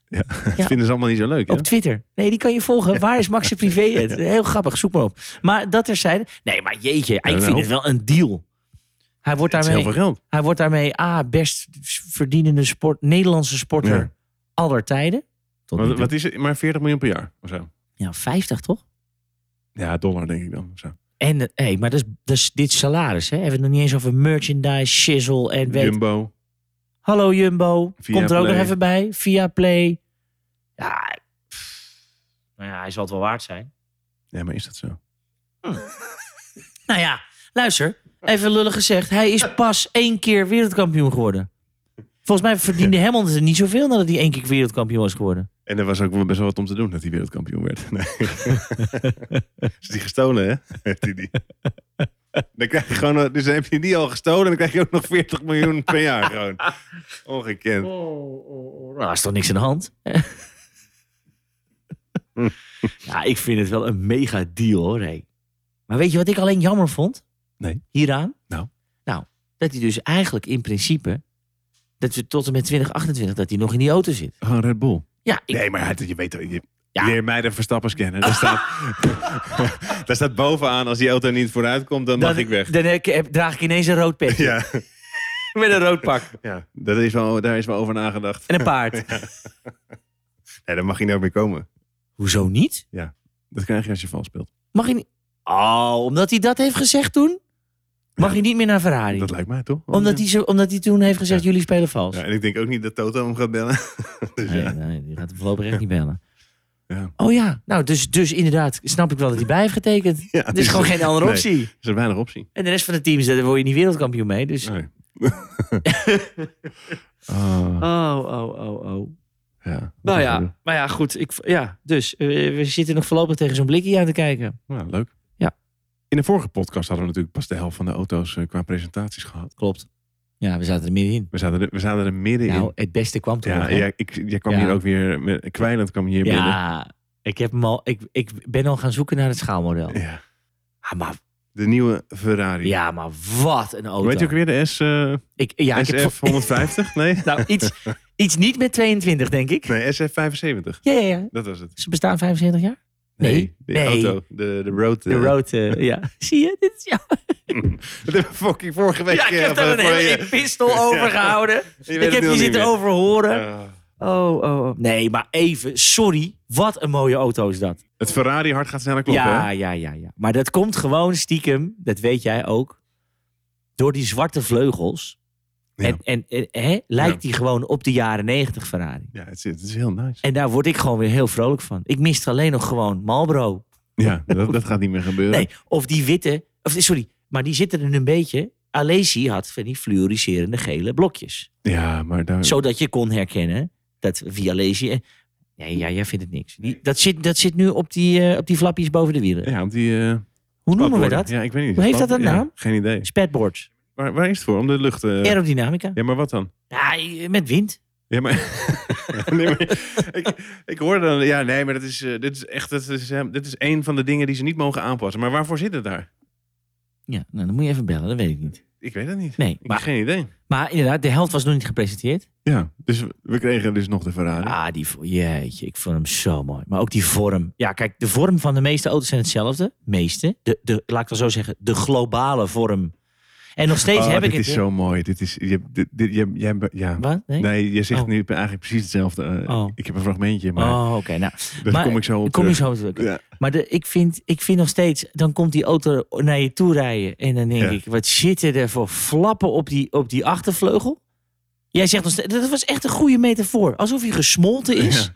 [SPEAKER 3] [laughs] Dat vinden ze allemaal niet zo leuk, hè?
[SPEAKER 2] Op Twitter. Nee, die kan je volgen. Waar is Max zijn
[SPEAKER 3] [laughs]
[SPEAKER 2] privéjet? Heel grappig, zoek maar op. Maar dat terzijde. Nee, maar jeetje, ik
[SPEAKER 3] nou.
[SPEAKER 2] vind het wel een deal. Hij wordt
[SPEAKER 3] Het is heel
[SPEAKER 2] daarmee
[SPEAKER 3] veel geld.
[SPEAKER 2] Hij wordt daarmee A, best verdienende sport, Nederlandse sporter
[SPEAKER 3] Ja.
[SPEAKER 2] aller tijden. Tot nu
[SPEAKER 3] Wat,
[SPEAKER 2] toe.
[SPEAKER 3] wat is het? Maar 40 miljoen per jaar of zo.
[SPEAKER 2] Ja, 50 toch?
[SPEAKER 3] Ja, dollar denk ik dan. of Zo.
[SPEAKER 2] En eh, hey, maar dat is, dat is dit salaris. Hè? Hebben we het nog niet eens over merchandise, shizzle en weet.
[SPEAKER 3] Jumbo.
[SPEAKER 2] Hallo Jumbo.
[SPEAKER 3] Via
[SPEAKER 2] komt er ook
[SPEAKER 3] Play.
[SPEAKER 2] nog even bij. Via Play. Ja, pff. nou ja, hij zal het wel waard zijn.
[SPEAKER 3] Ja, maar is dat zo?
[SPEAKER 2] Nou ja, luister. Even lullig gezegd. Hij is pas één keer wereldkampioen geworden. Volgens mij verdiende
[SPEAKER 3] [laughs]
[SPEAKER 2] Hamilton er niet zoveel nadat hij één keer wereldkampioen was geworden.
[SPEAKER 3] En er was ook wel best wel wat om te doen dat hij wereldkampioen werd. [laughs] Nee. is die gestolen, hè? [laughs] Heeft hij die. Dan krijg je gewoon, eh, dus dan heb je die al gestolen en dan krijg je ook nog 40 miljoen per jaar gewoon. Ongekend.
[SPEAKER 2] Oh. Nou, er is toch niks aan
[SPEAKER 3] [laughs]
[SPEAKER 2] de hand? ja, ik vind het wel een mega deal hoor. hé. Maar weet je wat ik alleen jammer vond?
[SPEAKER 3] Nee.
[SPEAKER 2] Hieraan?
[SPEAKER 3] Nou.
[SPEAKER 2] Nou, dat hij dus eigenlijk in principe. dat we tot en met 2028 dat hij nog in die auto zit.
[SPEAKER 3] Gewoon Red Bull.
[SPEAKER 2] Ja, ik,
[SPEAKER 3] Nee, maar hij- je weet wel, je
[SPEAKER 2] Ja.
[SPEAKER 3] leer mij de verstappers kennen. Daar staat, daar staat [laughs] bovenaan, als die auto niet vooruit komt, dan mag
[SPEAKER 2] dan-
[SPEAKER 3] ik weg.
[SPEAKER 2] Dan heb- heb- draag ik ineens een rood
[SPEAKER 3] [laughs]
[SPEAKER 2] pet.
[SPEAKER 3] Ja,
[SPEAKER 2] [laughs] Met een rood pak.
[SPEAKER 3] ja. Dat is wel, daar is wel over nagedacht.
[SPEAKER 2] En een paard.
[SPEAKER 3] Nee, daar mag je nooit meer komen.
[SPEAKER 2] Hoezo niet?
[SPEAKER 3] Dat krijg je als je vals speelt.
[SPEAKER 2] Mag hij niet. Oh, omdat hij dat heeft gezegd toen? Mag
[SPEAKER 3] Ja.
[SPEAKER 2] hij niet meer naar Ferrari?
[SPEAKER 3] Dat lijkt mij toch?
[SPEAKER 2] omdat, hij zo, omdat hij toen heeft gezegd: jullie spelen vals.
[SPEAKER 3] Ja, en ik denk ook niet dat Toto hem gaat bellen. [laughs] dus
[SPEAKER 2] Nee,
[SPEAKER 3] ja.
[SPEAKER 2] nee, die gaat hem voorlopig echt niet bellen.
[SPEAKER 3] [laughs] Ja.
[SPEAKER 2] Oh ja, nou, dus, dus inderdaad, snap ik wel dat hij bij heeft getekend.
[SPEAKER 3] Ja,
[SPEAKER 2] Er is gewoon geen andere
[SPEAKER 3] nee,
[SPEAKER 2] optie.
[SPEAKER 3] er is weinig optie.
[SPEAKER 2] En de rest van de teams, daar word je niet wereldkampioen mee. Dus
[SPEAKER 3] Nee. [laughs] Ah,
[SPEAKER 2] Oh, oh, oh, oh.
[SPEAKER 3] ja.
[SPEAKER 2] Nou ja, maar ja, goed. Ik, ja, dus eh, we zitten nog voorlopig tegen zo'n blikje aan te kijken.
[SPEAKER 3] Nou, leuk.
[SPEAKER 2] Ja.
[SPEAKER 3] In de vorige podcast hadden we natuurlijk pas de helft van de auto's eh, qua presentaties gehad.
[SPEAKER 2] Klopt. Ja, we zaten er middenin.
[SPEAKER 3] We zaten er, we zaten er midden
[SPEAKER 2] Nou,
[SPEAKER 3] in.
[SPEAKER 2] het beste kwam toen
[SPEAKER 3] Ja,
[SPEAKER 2] nog, hè?
[SPEAKER 3] ja, ik, jij kwam
[SPEAKER 2] Ja.
[SPEAKER 3] hier ook weer, met, kwijlend kwam je hier binnen.
[SPEAKER 2] Ja, ik, heb hem al, ik, ik ben al gaan zoeken naar het schaalmodel.
[SPEAKER 3] Ja.
[SPEAKER 2] Ah, maar,
[SPEAKER 3] De nieuwe Ferrari.
[SPEAKER 2] ja, maar wat een auto.
[SPEAKER 3] Weet je ook weer de S, eh,
[SPEAKER 2] ik, ja, ik heb,
[SPEAKER 3] SF 150? Nee?
[SPEAKER 2] [laughs] nou,
[SPEAKER 3] [laughs]
[SPEAKER 2] iets, iets niet met 22, denk ik.
[SPEAKER 3] Nee, SF 75.
[SPEAKER 2] Ja, ja, ja.
[SPEAKER 3] Dat was het.
[SPEAKER 2] Ze bestaan 75 jaar. Nee,
[SPEAKER 3] de
[SPEAKER 2] nee.
[SPEAKER 3] auto. De, de road.
[SPEAKER 2] De
[SPEAKER 3] [laughs]
[SPEAKER 2] road, eh, ja. [laughs] Zie je? Dit is, ja.
[SPEAKER 3] Dat hebben we fucking vorige week.
[SPEAKER 2] ja, ik heb
[SPEAKER 3] eh,
[SPEAKER 2] daar een
[SPEAKER 3] voor je-
[SPEAKER 2] hele epistel over gehouden.
[SPEAKER 3] je weet
[SPEAKER 2] Ik
[SPEAKER 3] het nu
[SPEAKER 2] heb je
[SPEAKER 3] al niet
[SPEAKER 2] zitten
[SPEAKER 3] meer.
[SPEAKER 2] overhoren.
[SPEAKER 3] Eh,
[SPEAKER 2] Oh, oh, oh. Nee, maar even, sorry. Wat een mooie auto is dat.
[SPEAKER 3] het Ferrari hart gaat sneller kloppen,
[SPEAKER 2] ja,
[SPEAKER 3] hè?
[SPEAKER 2] ja, ja, ja. Maar dat komt gewoon stiekem, dat weet jij ook, door die zwarte vleugels.
[SPEAKER 3] Ja.
[SPEAKER 2] En, en, en, hè, lijkt die gewoon op de jaren 90 Ferrari.
[SPEAKER 3] Ja, het is, het is heel nice.
[SPEAKER 2] En daar word ik gewoon weer heel vrolijk van. Ik mist alleen nog gewoon Marlboro.
[SPEAKER 3] Ja, dat, dat gaat niet meer gebeuren.
[SPEAKER 2] Nee, of die witte, of, sorry, maar die zitten er een beetje. Alesi had van die fluoriserende gele blokjes.
[SPEAKER 3] Ja, maar daar...
[SPEAKER 2] Zodat je kon herkennen dat via Alesi... eh, Nee, ja, jij vindt het niks. Die, dat, zit, dat zit nu op die, eh, op die flapjes boven de wielen.
[SPEAKER 3] Ja, op die... eh,
[SPEAKER 2] Hoe noemen we
[SPEAKER 3] platborden.
[SPEAKER 2] dat?
[SPEAKER 3] Ja, ik weet niet.
[SPEAKER 2] Hoe heeft dat nou? een
[SPEAKER 3] Ja,
[SPEAKER 2] naam?
[SPEAKER 3] geen idee.
[SPEAKER 2] Spatboards.
[SPEAKER 3] Waar, waar is het voor? Om de lucht... eh,
[SPEAKER 2] Aerodynamica.
[SPEAKER 3] Ja, maar wat dan?
[SPEAKER 2] Ja, eh, met wind.
[SPEAKER 3] Ja, maar... [laughs] nee, maar ik, ik hoorde dan... Ja, nee, maar dat is, eh, dit is echt... Dat is, eh, dit is een van de dingen die ze niet mogen aanpassen. Maar waarvoor zit het daar?
[SPEAKER 2] Ja, nou, dan moet je even bellen, dat weet ik niet.
[SPEAKER 3] Ik weet het niet.
[SPEAKER 2] Nee,
[SPEAKER 3] Ik
[SPEAKER 2] maar-
[SPEAKER 3] heb geen idee.
[SPEAKER 2] Maar inderdaad, de helft was nog niet gepresenteerd.
[SPEAKER 3] Ja, dus we kregen dus nog de Ferrari.
[SPEAKER 2] Ah, die, vo- jeetje, ik vond hem zo mooi. Maar ook die vorm. Ja, kijk, de vorm van de meeste auto's zijn hetzelfde. Meeste. De, de, laat ik wel zo zeggen, de globale vorm. En nog steeds
[SPEAKER 3] Oh,
[SPEAKER 2] heb ik
[SPEAKER 3] dit
[SPEAKER 2] het.
[SPEAKER 3] is zo mooi. Dit is... Je, dit, dit- je, jij- ja.
[SPEAKER 2] Wat? Nee?
[SPEAKER 3] Nee, je zegt
[SPEAKER 2] Oh.
[SPEAKER 3] nu eigenlijk precies hetzelfde. Eh,
[SPEAKER 2] Oh.
[SPEAKER 3] Ik heb een fragmentje, maar
[SPEAKER 2] Oh, oké. Nou,
[SPEAKER 3] daar
[SPEAKER 2] maar-
[SPEAKER 3] kom ik zo op
[SPEAKER 2] kom je
[SPEAKER 3] terug.
[SPEAKER 2] zo op terug.
[SPEAKER 3] Ja.
[SPEAKER 2] Maar de, ik, vind, ik vind nog steeds, dan komt die auto naar je toe rijden. En dan denk
[SPEAKER 3] Ja.
[SPEAKER 2] ik, wat zitten er voor flappen op die, op die achtervleugel? Jij zegt nog steeds, dat was echt een goede metafoor. Alsof hij gesmolten is.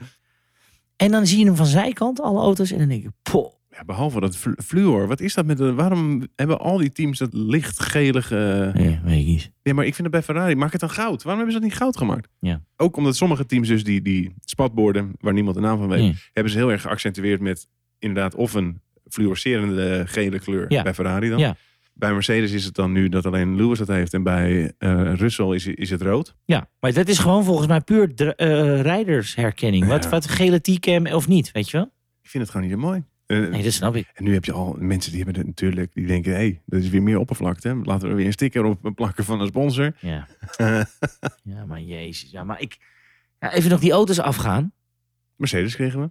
[SPEAKER 2] En dan zie je hem van zijkant, alle auto's. En dan denk ik, poh.
[SPEAKER 3] Ja, behalve dat flu- fluor. Wat is dat met... een- Waarom hebben al die teams dat lichtgelige...
[SPEAKER 2] Nee, weet ik niet.
[SPEAKER 3] Ja, maar ik vind het bij Ferrari. Maak het dan goud. Waarom hebben ze dat niet goud gemaakt?
[SPEAKER 2] Ja.
[SPEAKER 3] Ook omdat sommige teams dus die, die spatborden... waar niemand de naam van weet...
[SPEAKER 2] Mm.
[SPEAKER 3] hebben ze heel erg geaccentueerd met... inderdaad of een fluorescerende gele kleur
[SPEAKER 2] Ja.
[SPEAKER 3] bij Ferrari dan.
[SPEAKER 2] Ja.
[SPEAKER 3] Bij Mercedes is het dan nu dat alleen Lewis dat heeft... en bij eh Russell is, is het rood.
[SPEAKER 2] Ja, maar dat is gewoon volgens mij puur dr- eh, rijdersherkenning. Wat,
[SPEAKER 3] Ja.
[SPEAKER 2] wat gele T-cam of niet, weet je wel?
[SPEAKER 3] Ik vind het gewoon niet zo mooi. Eh,
[SPEAKER 2] Nee, dat snap ik.
[SPEAKER 3] En nu heb je al mensen die hebben het natuurlijk... die denken, hé, hey, dat is weer meer oppervlakte. Laten we er weer een sticker op plakken van een sponsor. [laughs]
[SPEAKER 2] Ja, ja maar jezus. Ja, maar ik... Ja, even nog die auto's afgaan.
[SPEAKER 3] Mercedes kregen we.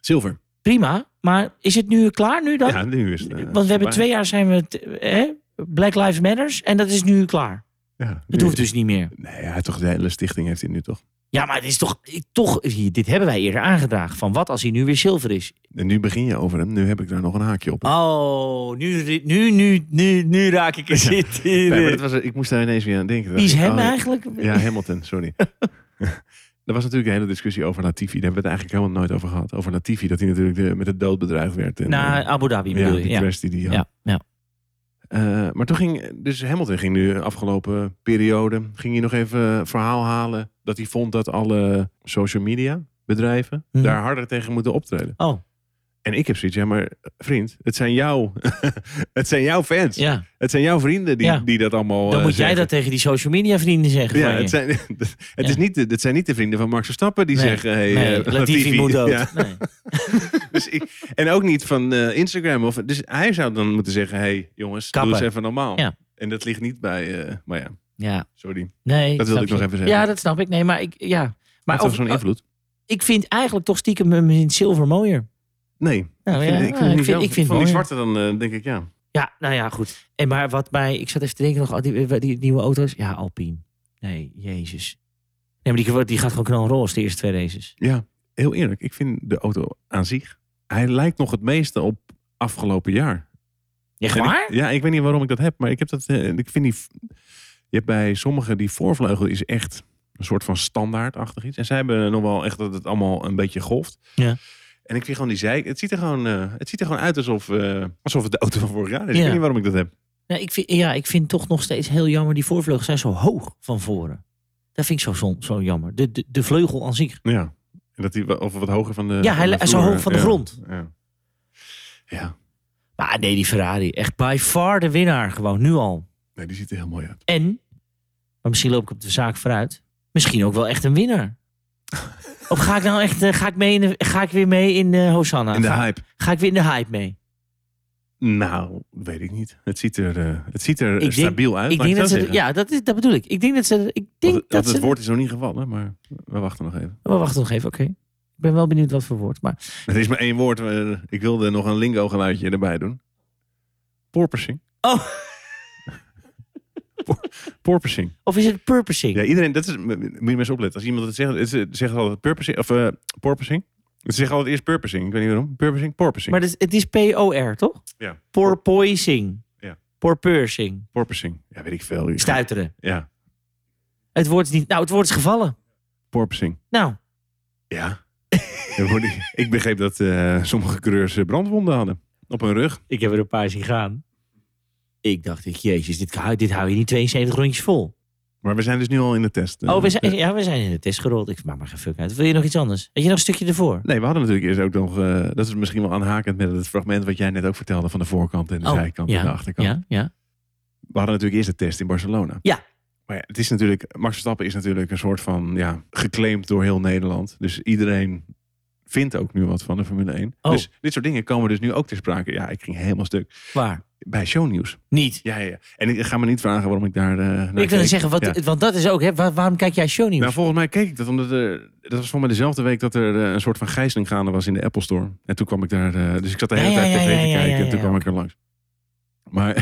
[SPEAKER 3] Zilver.
[SPEAKER 2] Prima, maar is het nu klaar nu dan?
[SPEAKER 3] Ja, nu is het. eh,
[SPEAKER 2] Want we hebben
[SPEAKER 3] voorbij.
[SPEAKER 2] twee jaar zijn we... t- eh, Hè? Black Lives Matters en dat is nu klaar.
[SPEAKER 3] Ja,
[SPEAKER 2] Het
[SPEAKER 3] nu-
[SPEAKER 2] hoeft dus niet meer.
[SPEAKER 3] Nee, hij heeft toch de hele stichting heeft hij nu toch.
[SPEAKER 2] Ja, maar het is toch... toch hier, dit hebben wij eerder aangedragen. Van wat als hij nu weer zilver is?
[SPEAKER 3] En nu begin je over hem. Nu heb ik daar nog een haakje op.
[SPEAKER 2] Oh, nu, ri- nu, nu, nu, nu raak ik er zit in.
[SPEAKER 3] Nee, maar dat was, ik moest daar ineens weer aan denken.
[SPEAKER 2] Wie is
[SPEAKER 3] Dacht ik,
[SPEAKER 2] hem
[SPEAKER 3] oh,
[SPEAKER 2] eigenlijk?
[SPEAKER 3] Ja, Hamilton,
[SPEAKER 2] [laughs]
[SPEAKER 3] sorry. [laughs] Er was natuurlijk een hele discussie over Latifi. Daar hebben we het eigenlijk helemaal nooit over gehad. Over Latifi, dat hij natuurlijk de- met de dood bedreigd werd. En,
[SPEAKER 2] Naar
[SPEAKER 3] eh,
[SPEAKER 2] Abu Dhabi
[SPEAKER 3] ja,
[SPEAKER 2] Nou, bedoel
[SPEAKER 3] die
[SPEAKER 2] je? Ja.
[SPEAKER 3] crash die hij had.
[SPEAKER 2] Ja, ja.
[SPEAKER 3] Eh, maar toen ging, dus Hamilton ging nu afgelopen periode, ging hij nog even eh, verhaal halen dat hij vond dat alle social media bedrijven
[SPEAKER 2] Mhm.
[SPEAKER 3] daar harder tegen moeten optreden.
[SPEAKER 2] Oh,
[SPEAKER 3] En ik heb zoiets, ja maar eh, vriend, het zijn jouw, [laughs] het zijn jouw fans,
[SPEAKER 2] ja.
[SPEAKER 3] het zijn jouw vrienden die,
[SPEAKER 2] Ja.
[SPEAKER 3] die dat allemaal
[SPEAKER 2] Dan
[SPEAKER 3] eh,
[SPEAKER 2] moet jij
[SPEAKER 3] zeggen.
[SPEAKER 2] dat tegen die social media vrienden zeggen.
[SPEAKER 3] Ja,
[SPEAKER 2] van je.
[SPEAKER 3] het zijn, [laughs] het, Is niet de, het zijn niet de vrienden van Max Verstappen die
[SPEAKER 2] Nee,
[SPEAKER 3] zeggen... Hey,
[SPEAKER 2] nee,
[SPEAKER 3] eh,
[SPEAKER 2] Latifi
[SPEAKER 3] [laughs]
[SPEAKER 2] moet dood.
[SPEAKER 3] Ja,
[SPEAKER 2] Nee.
[SPEAKER 3] dus ik- en ook niet van eh, Instagram. Of, dus hij zou dan moeten zeggen, hey, jongens, doe
[SPEAKER 2] Kappen.
[SPEAKER 3] eens even normaal.
[SPEAKER 2] Ja.
[SPEAKER 3] En dat ligt niet bij... eh, maar ja,
[SPEAKER 2] Ja,
[SPEAKER 3] sorry.
[SPEAKER 2] nee.
[SPEAKER 3] Dat wilde
[SPEAKER 2] snap
[SPEAKER 3] ik nog
[SPEAKER 2] je.
[SPEAKER 3] even zeggen.
[SPEAKER 2] Ja, dat snap ik. Nee, maar ik, ja. Maar
[SPEAKER 3] Maar of
[SPEAKER 2] over- oh,
[SPEAKER 3] zo'n invloed?
[SPEAKER 2] ik vind eigenlijk toch stiekem hem in het zilver mooier.
[SPEAKER 3] Nee.
[SPEAKER 2] Nou,
[SPEAKER 3] ik
[SPEAKER 2] ja,
[SPEAKER 3] vind, ik
[SPEAKER 2] ik
[SPEAKER 3] vind, het niet
[SPEAKER 2] vind,
[SPEAKER 3] wel-
[SPEAKER 2] ik vind
[SPEAKER 3] van die
[SPEAKER 2] mooi.
[SPEAKER 3] zwarte dan eh, denk ik ja.
[SPEAKER 2] Ja, nou ja, goed. En maar wat mij, ik zat even te denken nog, al die, die, nieuwe auto's. Ja, Alpine. Nee, jezus. Nee, maar die, die gaat gewoon knalroos, de eerste twee races.
[SPEAKER 3] Ja, heel eerlijk. Ik vind de auto aan zich. Hij lijkt nog het meeste op afgelopen jaar.
[SPEAKER 2] Echt
[SPEAKER 3] En ik-
[SPEAKER 2] waar?
[SPEAKER 3] ja, ik weet niet waarom ik dat heb, maar ik heb dat. eh, ik vind die. Je hebt bij sommigen die voorvleugel is echt een soort van standaardachtig iets. En zij hebben nog wel echt dat het allemaal een beetje golft.
[SPEAKER 2] Ja.
[SPEAKER 3] En ik vind gewoon die zij. Het ziet er gewoon, eh, het ziet er gewoon uit alsof, eh, alsof het de auto van vorig jaar is. Ik
[SPEAKER 2] Ja.
[SPEAKER 3] weet niet waarom ik dat heb.
[SPEAKER 2] Nou, ik vind, ja, ik vind toch nog steeds heel jammer. Die voorvleugels zijn zo hoog van voren. Dat vind ik zo, zon- zo jammer. De, de, de vleugel aan zich.
[SPEAKER 3] Ja. En dat hij wa- of wat hoger van de.
[SPEAKER 2] Ja, hij
[SPEAKER 3] van de
[SPEAKER 2] li- zo
[SPEAKER 3] vloer,
[SPEAKER 2] hoog van de
[SPEAKER 3] ja.
[SPEAKER 2] grond.
[SPEAKER 3] Ja. ja.
[SPEAKER 2] Maar ah, nee, die Ferrari. Echt by far de winnaar gewoon. Nu al.
[SPEAKER 3] Nee, die ziet er heel mooi uit.
[SPEAKER 2] En, maar misschien loop ik op de zaak vooruit, misschien ook wel echt een winnaar. of ga ik nou echt, eh, ga ik, mee in de- ga ik weer mee in eh, Hosanna?
[SPEAKER 3] In de
[SPEAKER 2] ga,
[SPEAKER 3] hype.
[SPEAKER 2] ga ik weer in de hype mee?
[SPEAKER 3] Nou, weet ik niet. Het ziet er, eh, het ziet er
[SPEAKER 2] Ik denk-
[SPEAKER 3] stabiel uit.
[SPEAKER 2] ik
[SPEAKER 3] laat
[SPEAKER 2] denk dat ze,
[SPEAKER 3] zeggen.
[SPEAKER 2] ja, dat, is, dat bedoel ik. Ik denk dat ze, ik denk
[SPEAKER 3] Want,
[SPEAKER 2] dat
[SPEAKER 3] want
[SPEAKER 2] ze,
[SPEAKER 3] het woord is nog niet gevallen, maar we wachten nog even.
[SPEAKER 2] Oh, wacht nog even, oké. Ik ben wel benieuwd wat voor woord. Maar
[SPEAKER 3] Het is maar één woord. eh, Ik wilde nog een lingo geluidje erbij doen. Porpoising.
[SPEAKER 2] Oh.
[SPEAKER 3] Por- Porpoising.
[SPEAKER 2] of is het purposing?
[SPEAKER 3] Ja, iedereen, dat is, m- moet je mensen opletten. Als iemand het zegt, het ze zeggen altijd purposing, of eh porpoising. Ze zeggen altijd eerst purposing, ik weet niet waarom. Purposing, porpoising.
[SPEAKER 2] Maar het is, het is P-O-R, toch?
[SPEAKER 3] Ja.
[SPEAKER 2] Porpoising.
[SPEAKER 3] Ja.
[SPEAKER 2] Porpursing.
[SPEAKER 3] Porpoising. Ja, weet ik veel.
[SPEAKER 2] Stuiteren.
[SPEAKER 3] Ja,
[SPEAKER 2] Het woord is niet, nou, het woord is gevallen.
[SPEAKER 3] porpoising.
[SPEAKER 2] Nou,
[SPEAKER 3] Ja. [laughs] Ja, voor die- ik begreep dat eh, sommige coureurs eh, brandwonden hadden. Op hun rug.
[SPEAKER 2] Ik heb er een paar zien gaan. Ik dacht, ik, jezus, dit, hou- dit hou je niet 72 rondjes vol.
[SPEAKER 3] Maar we zijn dus nu al in de test. eh.
[SPEAKER 2] oh, we zijn, ja, we zijn in de test gerold. Ik maak maar geen fuck uit. Wil je nog iets anders? Heb je nog een stukje ervoor?
[SPEAKER 3] Nee, we hadden natuurlijk eerst ook nog... eh, dat is misschien wel aanhakend met het fragment wat jij net ook vertelde... van de voorkant en de
[SPEAKER 2] Oh,
[SPEAKER 3] zijkant
[SPEAKER 2] ja,
[SPEAKER 3] en de achterkant.
[SPEAKER 2] Ja, ja.
[SPEAKER 3] we hadden natuurlijk eerst de test in Barcelona.
[SPEAKER 2] Ja.
[SPEAKER 3] Maar ja, het is natuurlijk, Max Verstappen is natuurlijk een soort van, ja, geclaimd door heel Nederland. Dus iedereen vindt ook nu wat van de Formule 1.
[SPEAKER 2] Oh.
[SPEAKER 3] Dus dit soort dingen komen dus nu ook ter sprake. Ja, ik ging helemaal stuk.
[SPEAKER 2] Waar?
[SPEAKER 3] Bij shownieuws.
[SPEAKER 2] Niet.
[SPEAKER 3] Ja, ja, ja. En ik ga me niet vragen waarom ik daar eh, naar
[SPEAKER 2] ik wil
[SPEAKER 3] keek.
[SPEAKER 2] zeggen, wat,
[SPEAKER 3] Ja.
[SPEAKER 2] want dat is ook, hè, waar- waarom kijk jij shownieuws?
[SPEAKER 3] Nou, volgens mij keek ik dat omdat er... Dat was volgens mij dezelfde week dat er eh, een soort van gijzeling gaande was in de Apple Store. En toen kwam ik daar... eh, dus ik zat de
[SPEAKER 2] Ja,
[SPEAKER 3] hele
[SPEAKER 2] ja,
[SPEAKER 3] tijd
[SPEAKER 2] ja,
[SPEAKER 3] tv
[SPEAKER 2] ja,
[SPEAKER 3] te
[SPEAKER 2] ja,
[SPEAKER 3] kijken.
[SPEAKER 2] ja,
[SPEAKER 3] en toen
[SPEAKER 2] ja.
[SPEAKER 3] kwam ik er langs. Maar...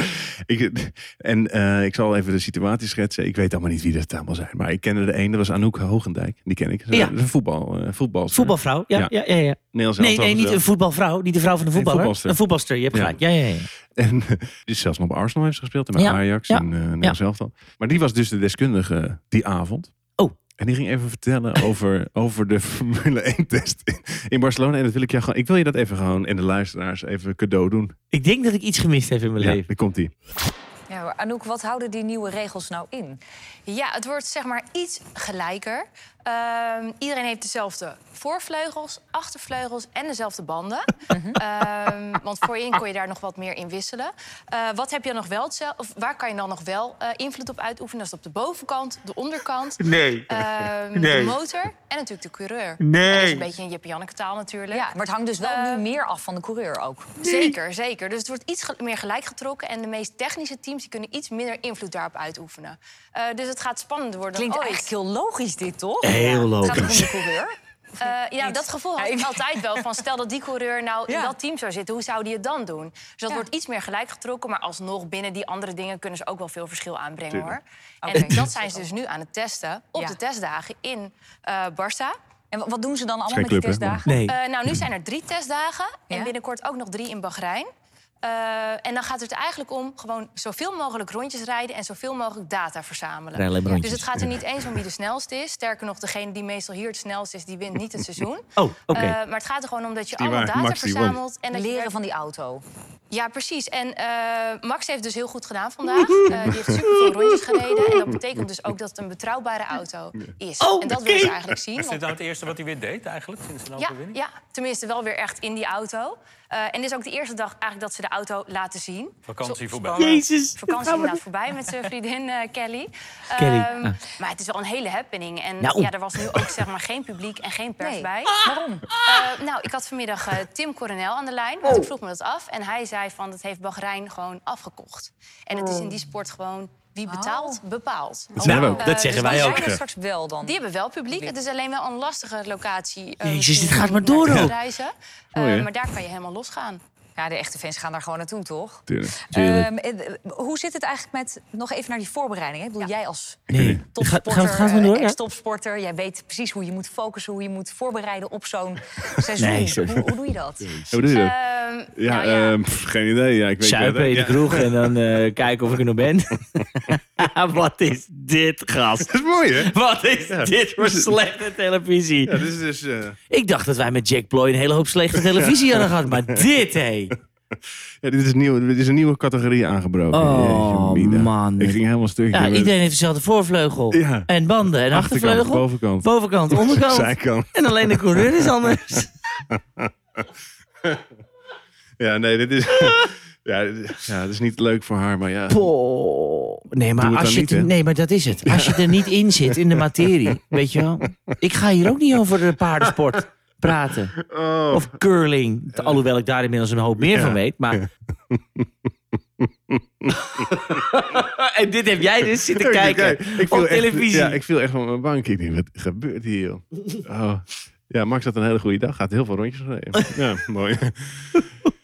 [SPEAKER 3] [laughs] ik, en eh, ik zal even de situatie schetsen. Ik weet allemaal niet wie dat allemaal zijn. Maar ik kende de ene, dat was Anouk Hoogendijk. Die ken ik. Ze-
[SPEAKER 2] Ja.
[SPEAKER 3] dat is een voetbal, eh voetbalster.
[SPEAKER 2] voetbalvrouw? Ja, ja.
[SPEAKER 3] Ja.
[SPEAKER 2] Ja, ja,
[SPEAKER 3] Nederlands
[SPEAKER 2] Nee,
[SPEAKER 3] elftal
[SPEAKER 2] nee, niet een
[SPEAKER 3] zelf.
[SPEAKER 2] voetbalvrouw. Niet de vrouw van de voetballer.
[SPEAKER 3] voetbalster.
[SPEAKER 2] Een voetbalster, je hebt
[SPEAKER 3] Ja.
[SPEAKER 2] gelijk. Ja, ja, ja.
[SPEAKER 3] [laughs] En eh, die is zelfs nog bij Arsenal heeft ze gespeeld. En bij
[SPEAKER 2] Ja,
[SPEAKER 3] Ajax
[SPEAKER 2] ja,
[SPEAKER 3] en eh Nederlands elftal. Maar die was dus de deskundige die avond.
[SPEAKER 2] Oh.
[SPEAKER 3] En die ging even vertellen over, over de Formule 1-test in, in Barcelona. En dat wil ik jou gewoon... Ik wil je dat even gewoon en de luisteraars even cadeau doen.
[SPEAKER 2] Ik denk dat ik iets gemist heb in mijn
[SPEAKER 3] Ja,
[SPEAKER 2] leven.
[SPEAKER 3] daar komt ie.
[SPEAKER 4] Ja, maar Anouk, wat houden die nieuwe regels nou in?
[SPEAKER 5] Ja, het wordt zeg maar iets gelijker. Ehm, iedereen heeft dezelfde voorvleugels, achtervleugels en dezelfde
[SPEAKER 4] [laughs]
[SPEAKER 5] banden.
[SPEAKER 4] Mhm.
[SPEAKER 5] Ehm, want voorin kon je daar nog wat meer in wisselen. Eh, wat heb je dan nog wel hetzelfde? Of waar kan je dan nog wel eh, invloed op uitoefenen? Dat is op de bovenkant, de onderkant,
[SPEAKER 6] [laughs] Nee.
[SPEAKER 5] ehm,
[SPEAKER 6] Nee.
[SPEAKER 5] de motor en natuurlijk de coureur.
[SPEAKER 6] Nee.
[SPEAKER 5] Dat is een beetje een Jip-Janneke taal natuurlijk.
[SPEAKER 4] Ja, maar het hangt dus wel
[SPEAKER 5] Eh,
[SPEAKER 4] nu meer af van de coureur ook.
[SPEAKER 5] Zeker, zeker. Dus het wordt iets ge- meer gelijk getrokken. En de meest technische teams die kunnen iets minder invloed daarop uitoefenen. Eh, dus het gaat spannender worden
[SPEAKER 4] Klinkt
[SPEAKER 5] dan ooit.
[SPEAKER 4] eigenlijk heel logisch dit, toch?
[SPEAKER 2] Heel
[SPEAKER 4] Het
[SPEAKER 2] logisch.
[SPEAKER 4] Gaat het om de coureur?
[SPEAKER 5] Eh, ja, dat gevoel had
[SPEAKER 4] Ja,
[SPEAKER 5] ik
[SPEAKER 4] ik-
[SPEAKER 5] altijd wel. Van stel dat die coureur nou
[SPEAKER 4] Ja.
[SPEAKER 5] in dat team zou zitten, hoe zou die het dan doen? Dus dat
[SPEAKER 4] Ja.
[SPEAKER 5] wordt iets meer gelijk getrokken, maar alsnog binnen die andere dingen kunnen ze ook wel veel verschil aanbrengen
[SPEAKER 3] Tuurlijk.
[SPEAKER 5] hoor.
[SPEAKER 4] Oké.
[SPEAKER 5] En dat zijn ze dus nu aan het testen op
[SPEAKER 4] Ja.
[SPEAKER 5] de testdagen in eh Barça.
[SPEAKER 4] En wa- wat doen ze dan allemaal
[SPEAKER 3] geen
[SPEAKER 4] met die
[SPEAKER 3] club, hè, maar-
[SPEAKER 4] testdagen?
[SPEAKER 2] Nee.
[SPEAKER 5] Eh, nou, nu zijn er drie testdagen
[SPEAKER 4] Ja.
[SPEAKER 5] en binnenkort ook nog drie in Bahrein. Eh, en dan gaat het er eigenlijk om gewoon zoveel mogelijk rondjes rijden en zoveel mogelijk data verzamelen.
[SPEAKER 2] Rij alleen maar rondjes.
[SPEAKER 5] dus het gaat er niet eens om wie de snelste is. Sterker nog, degene die meestal hier het snelst is, die wint niet het seizoen.
[SPEAKER 2] [laughs] Oh, oké.
[SPEAKER 5] Eh, maar het gaat er gewoon om dat je
[SPEAKER 3] Niet
[SPEAKER 5] allemaal
[SPEAKER 3] waar,
[SPEAKER 5] data
[SPEAKER 3] Max die won.
[SPEAKER 5] verzamelt. En dat je
[SPEAKER 4] Leren
[SPEAKER 5] werkt-
[SPEAKER 4] van die auto.
[SPEAKER 5] Ja, precies. En eh, Max heeft dus heel goed
[SPEAKER 6] [laughs]
[SPEAKER 5] gedaan vandaag. Eh, die heeft superveel rondjes gereden. En dat betekent dus ook dat het een betrouwbare auto is. en dat willen ze eigenlijk zien.
[SPEAKER 6] Oh, Is dit
[SPEAKER 5] want-
[SPEAKER 6] nou het eerste wat hij weer deed eigenlijk sinds de
[SPEAKER 5] ja,
[SPEAKER 6] overwinning?
[SPEAKER 5] ja, tenminste wel weer echt in die auto. Eh, en dit is ook de eerste dag eigenlijk dat ze de auto laten zien. Zo-
[SPEAKER 6] Vakantie voorbij.
[SPEAKER 2] Jezus.
[SPEAKER 5] Vakantie inderdaad voorbij met zijn vriendin eh, Kelly.
[SPEAKER 2] Kelly,
[SPEAKER 5] Ehm,
[SPEAKER 2] ah.
[SPEAKER 5] Maar het is wel een hele happening. En
[SPEAKER 2] Nou.
[SPEAKER 5] ja, er was nu ook zeg maar, geen publiek en geen pers
[SPEAKER 4] Nee. Ah.
[SPEAKER 5] bij.
[SPEAKER 4] Waarom?
[SPEAKER 5] Eh, nou, ik had vanmiddag eh, Tim Coronel aan de lijn.
[SPEAKER 2] Oh.
[SPEAKER 5] Want ik vroeg me dat af. En hij zei van, dat heeft Bahrein gewoon afgekocht. En het is in die
[SPEAKER 4] Oh.
[SPEAKER 5] sport gewoon wie betaalt, bepaalt.
[SPEAKER 2] Nou,
[SPEAKER 3] hebben we ook.
[SPEAKER 2] dat zeggen wij
[SPEAKER 4] dus zijn
[SPEAKER 2] ook.
[SPEAKER 4] er straks wel dan.
[SPEAKER 5] Die hebben wel publiek. Het is alleen wel een lastige locatie. eh,
[SPEAKER 2] Jezus,
[SPEAKER 5] misschien
[SPEAKER 2] dit gaat
[SPEAKER 5] om
[SPEAKER 2] maar
[SPEAKER 5] naartoe
[SPEAKER 2] door
[SPEAKER 5] te
[SPEAKER 2] ook.
[SPEAKER 5] reizen. Eh,
[SPEAKER 3] Mooi, hè?
[SPEAKER 5] maar daar kan je helemaal losgaan.
[SPEAKER 4] Ja, de echte fans gaan daar gewoon naartoe, toch?
[SPEAKER 3] Tuurlijk.
[SPEAKER 2] Tuurlijk.
[SPEAKER 4] Ehm, en, eh, hoe zit het eigenlijk met, nog even naar die voorbereiding? Hè? Ik bedoel, jij als
[SPEAKER 3] eh.
[SPEAKER 2] Nee. Ga-
[SPEAKER 4] topsporter,
[SPEAKER 2] gaan we- gaan we
[SPEAKER 4] eh,
[SPEAKER 2] door, ja?
[SPEAKER 4] ex-topsporter, jij weet precies hoe je moet focussen, hoe je moet voorbereiden
[SPEAKER 2] [laughs]
[SPEAKER 4] op zo'n seizoen.
[SPEAKER 2] Nee, sorry.
[SPEAKER 4] hoe, hoe doe je dat?
[SPEAKER 3] Hoe doe je dat?
[SPEAKER 5] Ehm,
[SPEAKER 3] Ja,
[SPEAKER 5] nou ja.
[SPEAKER 3] ehm, pff, geen idee. Ja, ik weet
[SPEAKER 2] Suipen in
[SPEAKER 3] het.
[SPEAKER 2] de
[SPEAKER 3] Ja.
[SPEAKER 2] kroeg en
[SPEAKER 3] [laughs]
[SPEAKER 2] dan eh, kijken of ik er nog ben. [laughs] Wat is dit, gast?
[SPEAKER 3] Dat is mooi, hè?
[SPEAKER 2] Wat is
[SPEAKER 3] Ja.
[SPEAKER 2] dit voor
[SPEAKER 3] Was het-
[SPEAKER 2] slechte televisie?
[SPEAKER 3] Ja, dit is dus... eh, [laughs]
[SPEAKER 2] Ik dacht dat wij met Jack Ploy een hele hoop slechte televisie hadden gehad. Maar dit, hé.
[SPEAKER 3] Ja, dit, is nieuw, dit is een nieuwe categorie aangebroken.
[SPEAKER 2] Oh,
[SPEAKER 3] Jeetje, mina.
[SPEAKER 2] man.
[SPEAKER 3] Ik ging helemaal stuk.
[SPEAKER 2] Ja,
[SPEAKER 3] Ik ben-
[SPEAKER 2] iedereen heeft dezelfde voorvleugel.
[SPEAKER 3] Ja.
[SPEAKER 2] En banden en
[SPEAKER 3] Achterkant,
[SPEAKER 2] achtervleugel.
[SPEAKER 3] bovenkant.
[SPEAKER 2] Bovenkant, onderkant.
[SPEAKER 3] [laughs] Zijkant.
[SPEAKER 2] En alleen de coureur is anders.
[SPEAKER 3] Ja, nee, dit is... [laughs] ja, dit, ja, dit is niet leuk voor haar, maar ja.
[SPEAKER 2] Poh. Nee, maar,
[SPEAKER 3] Doe het dan
[SPEAKER 2] als je
[SPEAKER 3] niet,
[SPEAKER 2] het-
[SPEAKER 3] hè?
[SPEAKER 2] nee, maar dat is het. Als je er niet in zit, in de
[SPEAKER 3] [laughs]
[SPEAKER 2] materie, weet je wel. Ik ga hier ook niet over de paardensport praten.
[SPEAKER 3] Oh.
[SPEAKER 2] Of curling. Alhoewel ik daar inmiddels een hoop meer
[SPEAKER 3] Ja.
[SPEAKER 2] van weet. Maar... [laughs] en dit heb jij dus zitten kijken op
[SPEAKER 3] echt,
[SPEAKER 2] televisie.
[SPEAKER 3] Ja, ik viel echt van mijn bank. Ik denk, wat gebeurt hier, joh?
[SPEAKER 2] [laughs]
[SPEAKER 3] Oh. Ja, Max had een hele goede dag. Gaat heel veel rondjes rijden. Ja, mooi.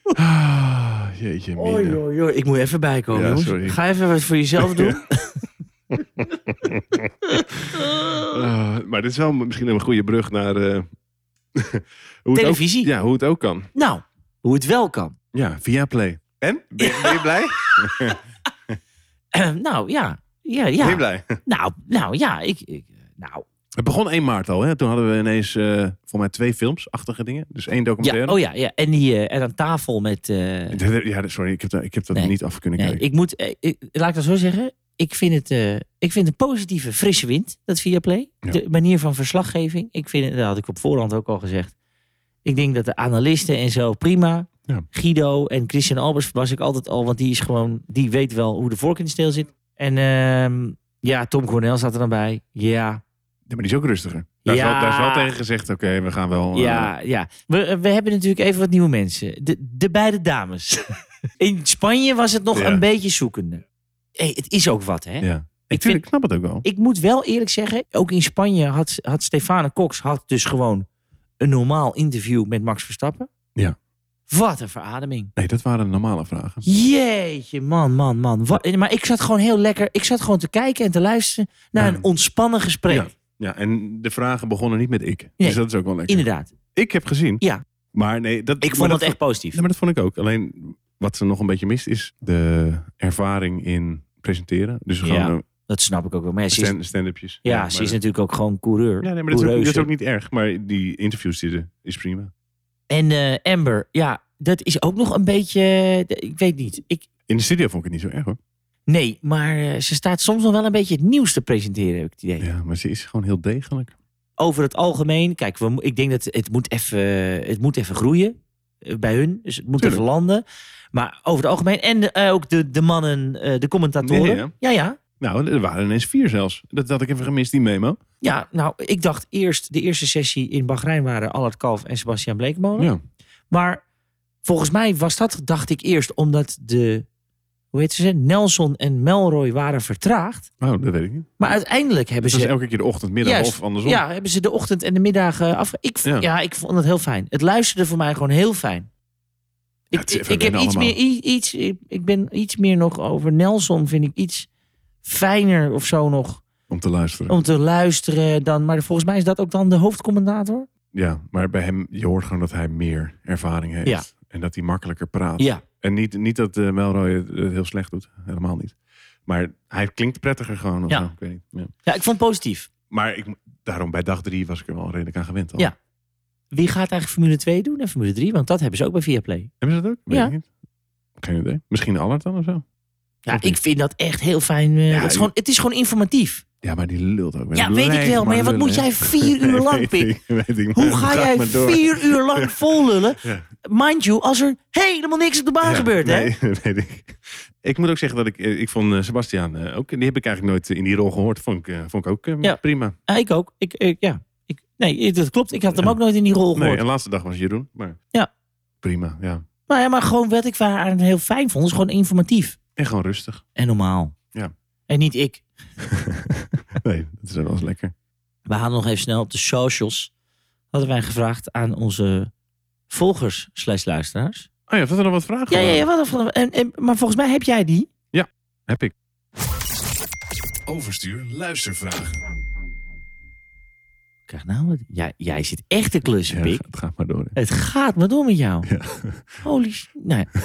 [SPEAKER 3] Ah, Jeetje,
[SPEAKER 2] Oei,
[SPEAKER 3] mine.
[SPEAKER 2] oei, oei. Ik moet even bijkomen,
[SPEAKER 3] Ja,
[SPEAKER 2] jongens.
[SPEAKER 3] sorry.
[SPEAKER 2] Ga even wat voor
[SPEAKER 3] [laughs]
[SPEAKER 2] jezelf doen.
[SPEAKER 3] Ah, maar dit is wel misschien een goede brug naar... eh, [laughs] hoe het ook-
[SPEAKER 2] Televisie.
[SPEAKER 3] ja, hoe het ook kan.
[SPEAKER 2] Nou, hoe het wel kan. [clears throat]
[SPEAKER 3] Ja, via Play. En? Ben, ben je blij?
[SPEAKER 2] nou, ja. Ja,
[SPEAKER 3] Ben je
[SPEAKER 2] ja.
[SPEAKER 3] blij?
[SPEAKER 2] Nou, nou, ja. Ik, ik, nou,
[SPEAKER 3] Het begon 1 maart al. Hè? Toen hadden we ineens eh voor mij twee filmsachtige dingen. Dus één
[SPEAKER 2] ja,
[SPEAKER 3] documentaire.
[SPEAKER 2] oh ja, ja. En, die, eh, en aan tafel met... eh,
[SPEAKER 3] ja. sorry, ik heb dat, ik heb dat
[SPEAKER 2] Nee.
[SPEAKER 3] niet af kunnen
[SPEAKER 2] nee,
[SPEAKER 3] kijken.
[SPEAKER 2] ik moet... eh, ik, laat ik dat zo zeggen. Ik vind het eh, ik vind een positieve, frisse wind, dat Viaplay.
[SPEAKER 3] Ja.
[SPEAKER 2] De manier van verslaggeving. Ik vind het, dat had ik op voorhand ook al gezegd. Ik denk dat de analisten en zo prima.
[SPEAKER 3] Ja.
[SPEAKER 2] Guido en Christian Albers was ik altijd al, want die is gewoon, die weet wel hoe de vork in de steel zit. En ehm, ja, Tom Cornel zat er dan bij. Ja,
[SPEAKER 3] Ja, maar die is ook rustiger. Daar, is,
[SPEAKER 2] Ja.
[SPEAKER 3] wel, daar is wel tegen gezegd, oké, we gaan wel... eh,
[SPEAKER 2] Ja, ja. We, we hebben natuurlijk even wat nieuwe mensen. De, de beide dames. [laughs] In Spanje was het nog
[SPEAKER 3] Ja.
[SPEAKER 2] een beetje zoekende. Hey, het is ook wat, hè?
[SPEAKER 3] ja. Ik,
[SPEAKER 2] Ik
[SPEAKER 3] vind,
[SPEAKER 2] vind-
[SPEAKER 3] ik snap het ook wel.
[SPEAKER 2] Ik moet wel eerlijk zeggen, ook in Spanje had, had Stefane Cox had dus gewoon een normaal interview met Max Verstappen.
[SPEAKER 3] Ja.
[SPEAKER 2] Wat een verademing.
[SPEAKER 3] Nee, dat waren de normale vragen.
[SPEAKER 2] Jeetje, man, man, man. Wat- eh, maar ik zat gewoon heel lekker. Ik zat gewoon te kijken en te luisteren naar
[SPEAKER 3] Ja.
[SPEAKER 2] een ontspannen gesprek.
[SPEAKER 3] Ja, ja, en de vragen begonnen niet met ik.
[SPEAKER 2] Nee.
[SPEAKER 3] Dus dat is ook wel lekker.
[SPEAKER 2] Inderdaad.
[SPEAKER 3] Ik heb gezien.
[SPEAKER 2] Ja.
[SPEAKER 3] Maar nee, dat...
[SPEAKER 2] Ik
[SPEAKER 3] maar
[SPEAKER 2] vond het
[SPEAKER 3] dat
[SPEAKER 2] echt positief.
[SPEAKER 3] Ja, maar dat vond ik ook. Alleen, wat ze nog een beetje mist, is de ervaring in presenteren. Dus gewoon
[SPEAKER 2] Ja.
[SPEAKER 3] eh,
[SPEAKER 2] Dat snap ik ook wel. Maar ja, ze is,
[SPEAKER 3] stand- stand-upjes.
[SPEAKER 2] ja,
[SPEAKER 3] maar
[SPEAKER 2] ze is
[SPEAKER 3] dat-
[SPEAKER 2] natuurlijk ook gewoon coureur.
[SPEAKER 3] Ja, nee, maar dat is, ook, dat is
[SPEAKER 2] Coureuse.
[SPEAKER 3] ook niet erg. Maar die interviews die er is prima.
[SPEAKER 2] En eh, Amber, ja, dat is ook nog een beetje. eh, Ik weet niet. Ik,
[SPEAKER 3] In de studio vond ik het niet zo erg hoor.
[SPEAKER 2] nee, maar eh, ze staat soms nog wel een beetje het nieuws te presenteren, heb ik het idee.
[SPEAKER 3] Ja, maar ze is gewoon heel degelijk.
[SPEAKER 2] Over het algemeen, kijk, we, mo- ik denk dat het moet even, het moet even groeien eh, bij hun. Dus het moet
[SPEAKER 3] Tuurlijk.
[SPEAKER 2] even landen. Maar over het algemeen. En eh, ook de, de mannen, eh, de commentatoren.
[SPEAKER 3] Ja,
[SPEAKER 2] Ja, ja. ja.
[SPEAKER 3] Nou, er waren ineens vier zelfs. Dat had ik even gemist, die memo.
[SPEAKER 2] nou, ik dacht eerst, de eerste sessie in Bahrein waren Allard Kalf en Sebastian Bleekmolen.
[SPEAKER 3] Ja.
[SPEAKER 2] Maar volgens mij was dat, dacht ik eerst, omdat de, hoe heet ze, Nelson en Melroy waren vertraagd.
[SPEAKER 3] Oh, dat weet ik niet.
[SPEAKER 2] Maar uiteindelijk hebben
[SPEAKER 3] Dus dat is
[SPEAKER 2] ze,
[SPEAKER 3] elke keer de ochtend, middag
[SPEAKER 2] Juist.
[SPEAKER 3] of andersom.
[SPEAKER 2] ja, hebben ze de ochtend en de middag eh, afge... Ik, v-
[SPEAKER 3] Ja.
[SPEAKER 2] ja. ik vond het heel fijn. Het luisterde voor mij gewoon heel fijn.
[SPEAKER 3] Ja,
[SPEAKER 2] Ik,
[SPEAKER 3] het is
[SPEAKER 2] ik,
[SPEAKER 3] even
[SPEAKER 2] ik heb
[SPEAKER 3] wennen
[SPEAKER 2] iets meer, i- iets, ik, ik ben iets meer nog over Nelson, vind ik iets fijner of zo nog
[SPEAKER 3] Om te luisteren.
[SPEAKER 2] om te luisteren dan. Maar volgens mij is dat ook dan de hoofdcommentator.
[SPEAKER 3] Ja, maar bij hem, je hoort gewoon dat hij meer ervaring heeft.
[SPEAKER 2] Ja.
[SPEAKER 3] En dat hij makkelijker praat.
[SPEAKER 2] Ja,
[SPEAKER 3] En niet, niet dat eh, Melroy het het heel slecht doet. Helemaal niet. Maar hij klinkt prettiger gewoon. of
[SPEAKER 2] Ja.
[SPEAKER 3] zo. Ik weet niet. Ja.
[SPEAKER 2] ja ik vond het positief.
[SPEAKER 3] Maar ik, daarom bij dag drie was ik er wel redelijk aan gewend. Al.
[SPEAKER 2] Ja. Wie gaat eigenlijk Formule 2 doen en Formule 3? Want dat hebben ze ook bij Viaplay.
[SPEAKER 3] Hebben ze dat ook? Weet
[SPEAKER 2] Ja.
[SPEAKER 3] ik niet. Geen idee. Misschien Allard dan of zo.
[SPEAKER 2] Ja,
[SPEAKER 3] Of
[SPEAKER 2] ik
[SPEAKER 3] niet?
[SPEAKER 2] vind dat echt heel fijn. eh,
[SPEAKER 3] Ja,
[SPEAKER 2] dat is
[SPEAKER 3] ik-
[SPEAKER 2] gewoon, het is gewoon informatief.
[SPEAKER 3] Ja, maar die lult ook.
[SPEAKER 2] Ja, weet ik wel. Maar ja, wat moet jij
[SPEAKER 3] [laughs]
[SPEAKER 2] vier uur lang, Pik?
[SPEAKER 3] pikken?
[SPEAKER 2] Hoe ga jij vier uur
[SPEAKER 3] [laughs]
[SPEAKER 2] lang vol lullen?
[SPEAKER 3] Ja.
[SPEAKER 2] Mind you, als er helemaal niks op de baan
[SPEAKER 3] Ja,
[SPEAKER 2] Ah, gebeurt, hè?
[SPEAKER 3] Nee, [laughs] weet ik. Ik moet ook zeggen dat ik, eh, ik vond eh, Sebastiaan eh, ook, die heb ik eigenlijk nooit eh, in die rol gehoord. Vond ik, eh, vond ik ook eh,
[SPEAKER 2] Ja.
[SPEAKER 3] prima.
[SPEAKER 2] Ja, ik ook. Ik, ik- ja. Ik, nee, dat klopt. Ik had hem
[SPEAKER 3] Ja.
[SPEAKER 2] ook nooit in die rol gehoord.
[SPEAKER 3] Nee, en laatste dag was Jeroen. Maar
[SPEAKER 2] Ja.
[SPEAKER 3] prima, ja.
[SPEAKER 2] Maar, Nou ja, maar gewoon wat ik aan heel fijn vond, is gewoon informatief.
[SPEAKER 3] En gewoon rustig.
[SPEAKER 2] [laughs] En normaal.
[SPEAKER 3] Ja.
[SPEAKER 2] En niet ik.
[SPEAKER 3] Nee, dat is wel eens lekker.
[SPEAKER 2] We hadden nog even snel op de socials. Hadden wij gevraagd aan onze volgers slash luisteraars.
[SPEAKER 3] Oh ja, dat er nog wat vragen
[SPEAKER 2] Ja, ja,
[SPEAKER 3] waren?
[SPEAKER 2] ja. Wat, een- en, en, maar volgens mij heb jij die.
[SPEAKER 3] Heb ik.
[SPEAKER 1] Overstuur luistervragen.
[SPEAKER 2] Krijg nou wat. Ja, jij zit echt te klussen,
[SPEAKER 3] Ja,
[SPEAKER 2] Pik.
[SPEAKER 3] het gaat maar door. hè.
[SPEAKER 2] Het gaat me door met jou.
[SPEAKER 3] Ja.
[SPEAKER 2] Holy... sh- Nou ja.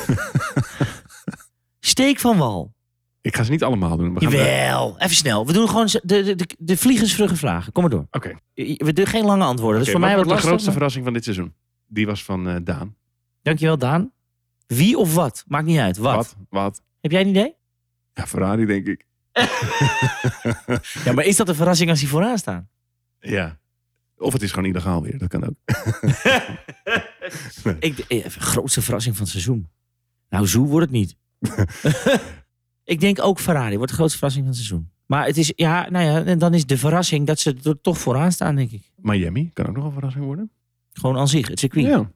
[SPEAKER 2] Steek van wal.
[SPEAKER 3] Ik ga ze niet allemaal doen. We gaan de-
[SPEAKER 2] Jawel. Even snel. We doen gewoon z- de, de, de, de vliegensvrugge vragen. Kom maar door.
[SPEAKER 3] Oké.
[SPEAKER 2] We doen geen lange antwoorden.
[SPEAKER 3] Oké,
[SPEAKER 2] Dat is voor mij
[SPEAKER 3] wat
[SPEAKER 2] wat
[SPEAKER 3] wordt de
[SPEAKER 2] lastig.
[SPEAKER 3] grootste
[SPEAKER 2] maar-
[SPEAKER 3] verrassing van dit seizoen? Die was van eh, Daan.
[SPEAKER 2] Dankjewel, Daan. Wie of wat? Maakt niet uit. Wat?
[SPEAKER 3] Wat? Wat?
[SPEAKER 2] Heb jij een idee?
[SPEAKER 3] Ja, Ferrari denk ik.
[SPEAKER 2] Ja, maar is dat een verrassing als die vooraan staan?
[SPEAKER 3] Ja. Of het is gewoon illegaal weer. Dat kan ook.
[SPEAKER 2] Ik, eh, grootste verrassing van het seizoen. Nou, zo wordt het [laughs] niet. ik denk ook Ferrari wordt de grootste verrassing van het seizoen. Maar het is, ja, nou ja, en dan is de verrassing dat ze er toch vooraan staan, denk ik.
[SPEAKER 3] Miami kan ook nog een verrassing worden.
[SPEAKER 2] Gewoon aan zich, het circuit.
[SPEAKER 3] Ja. Oké,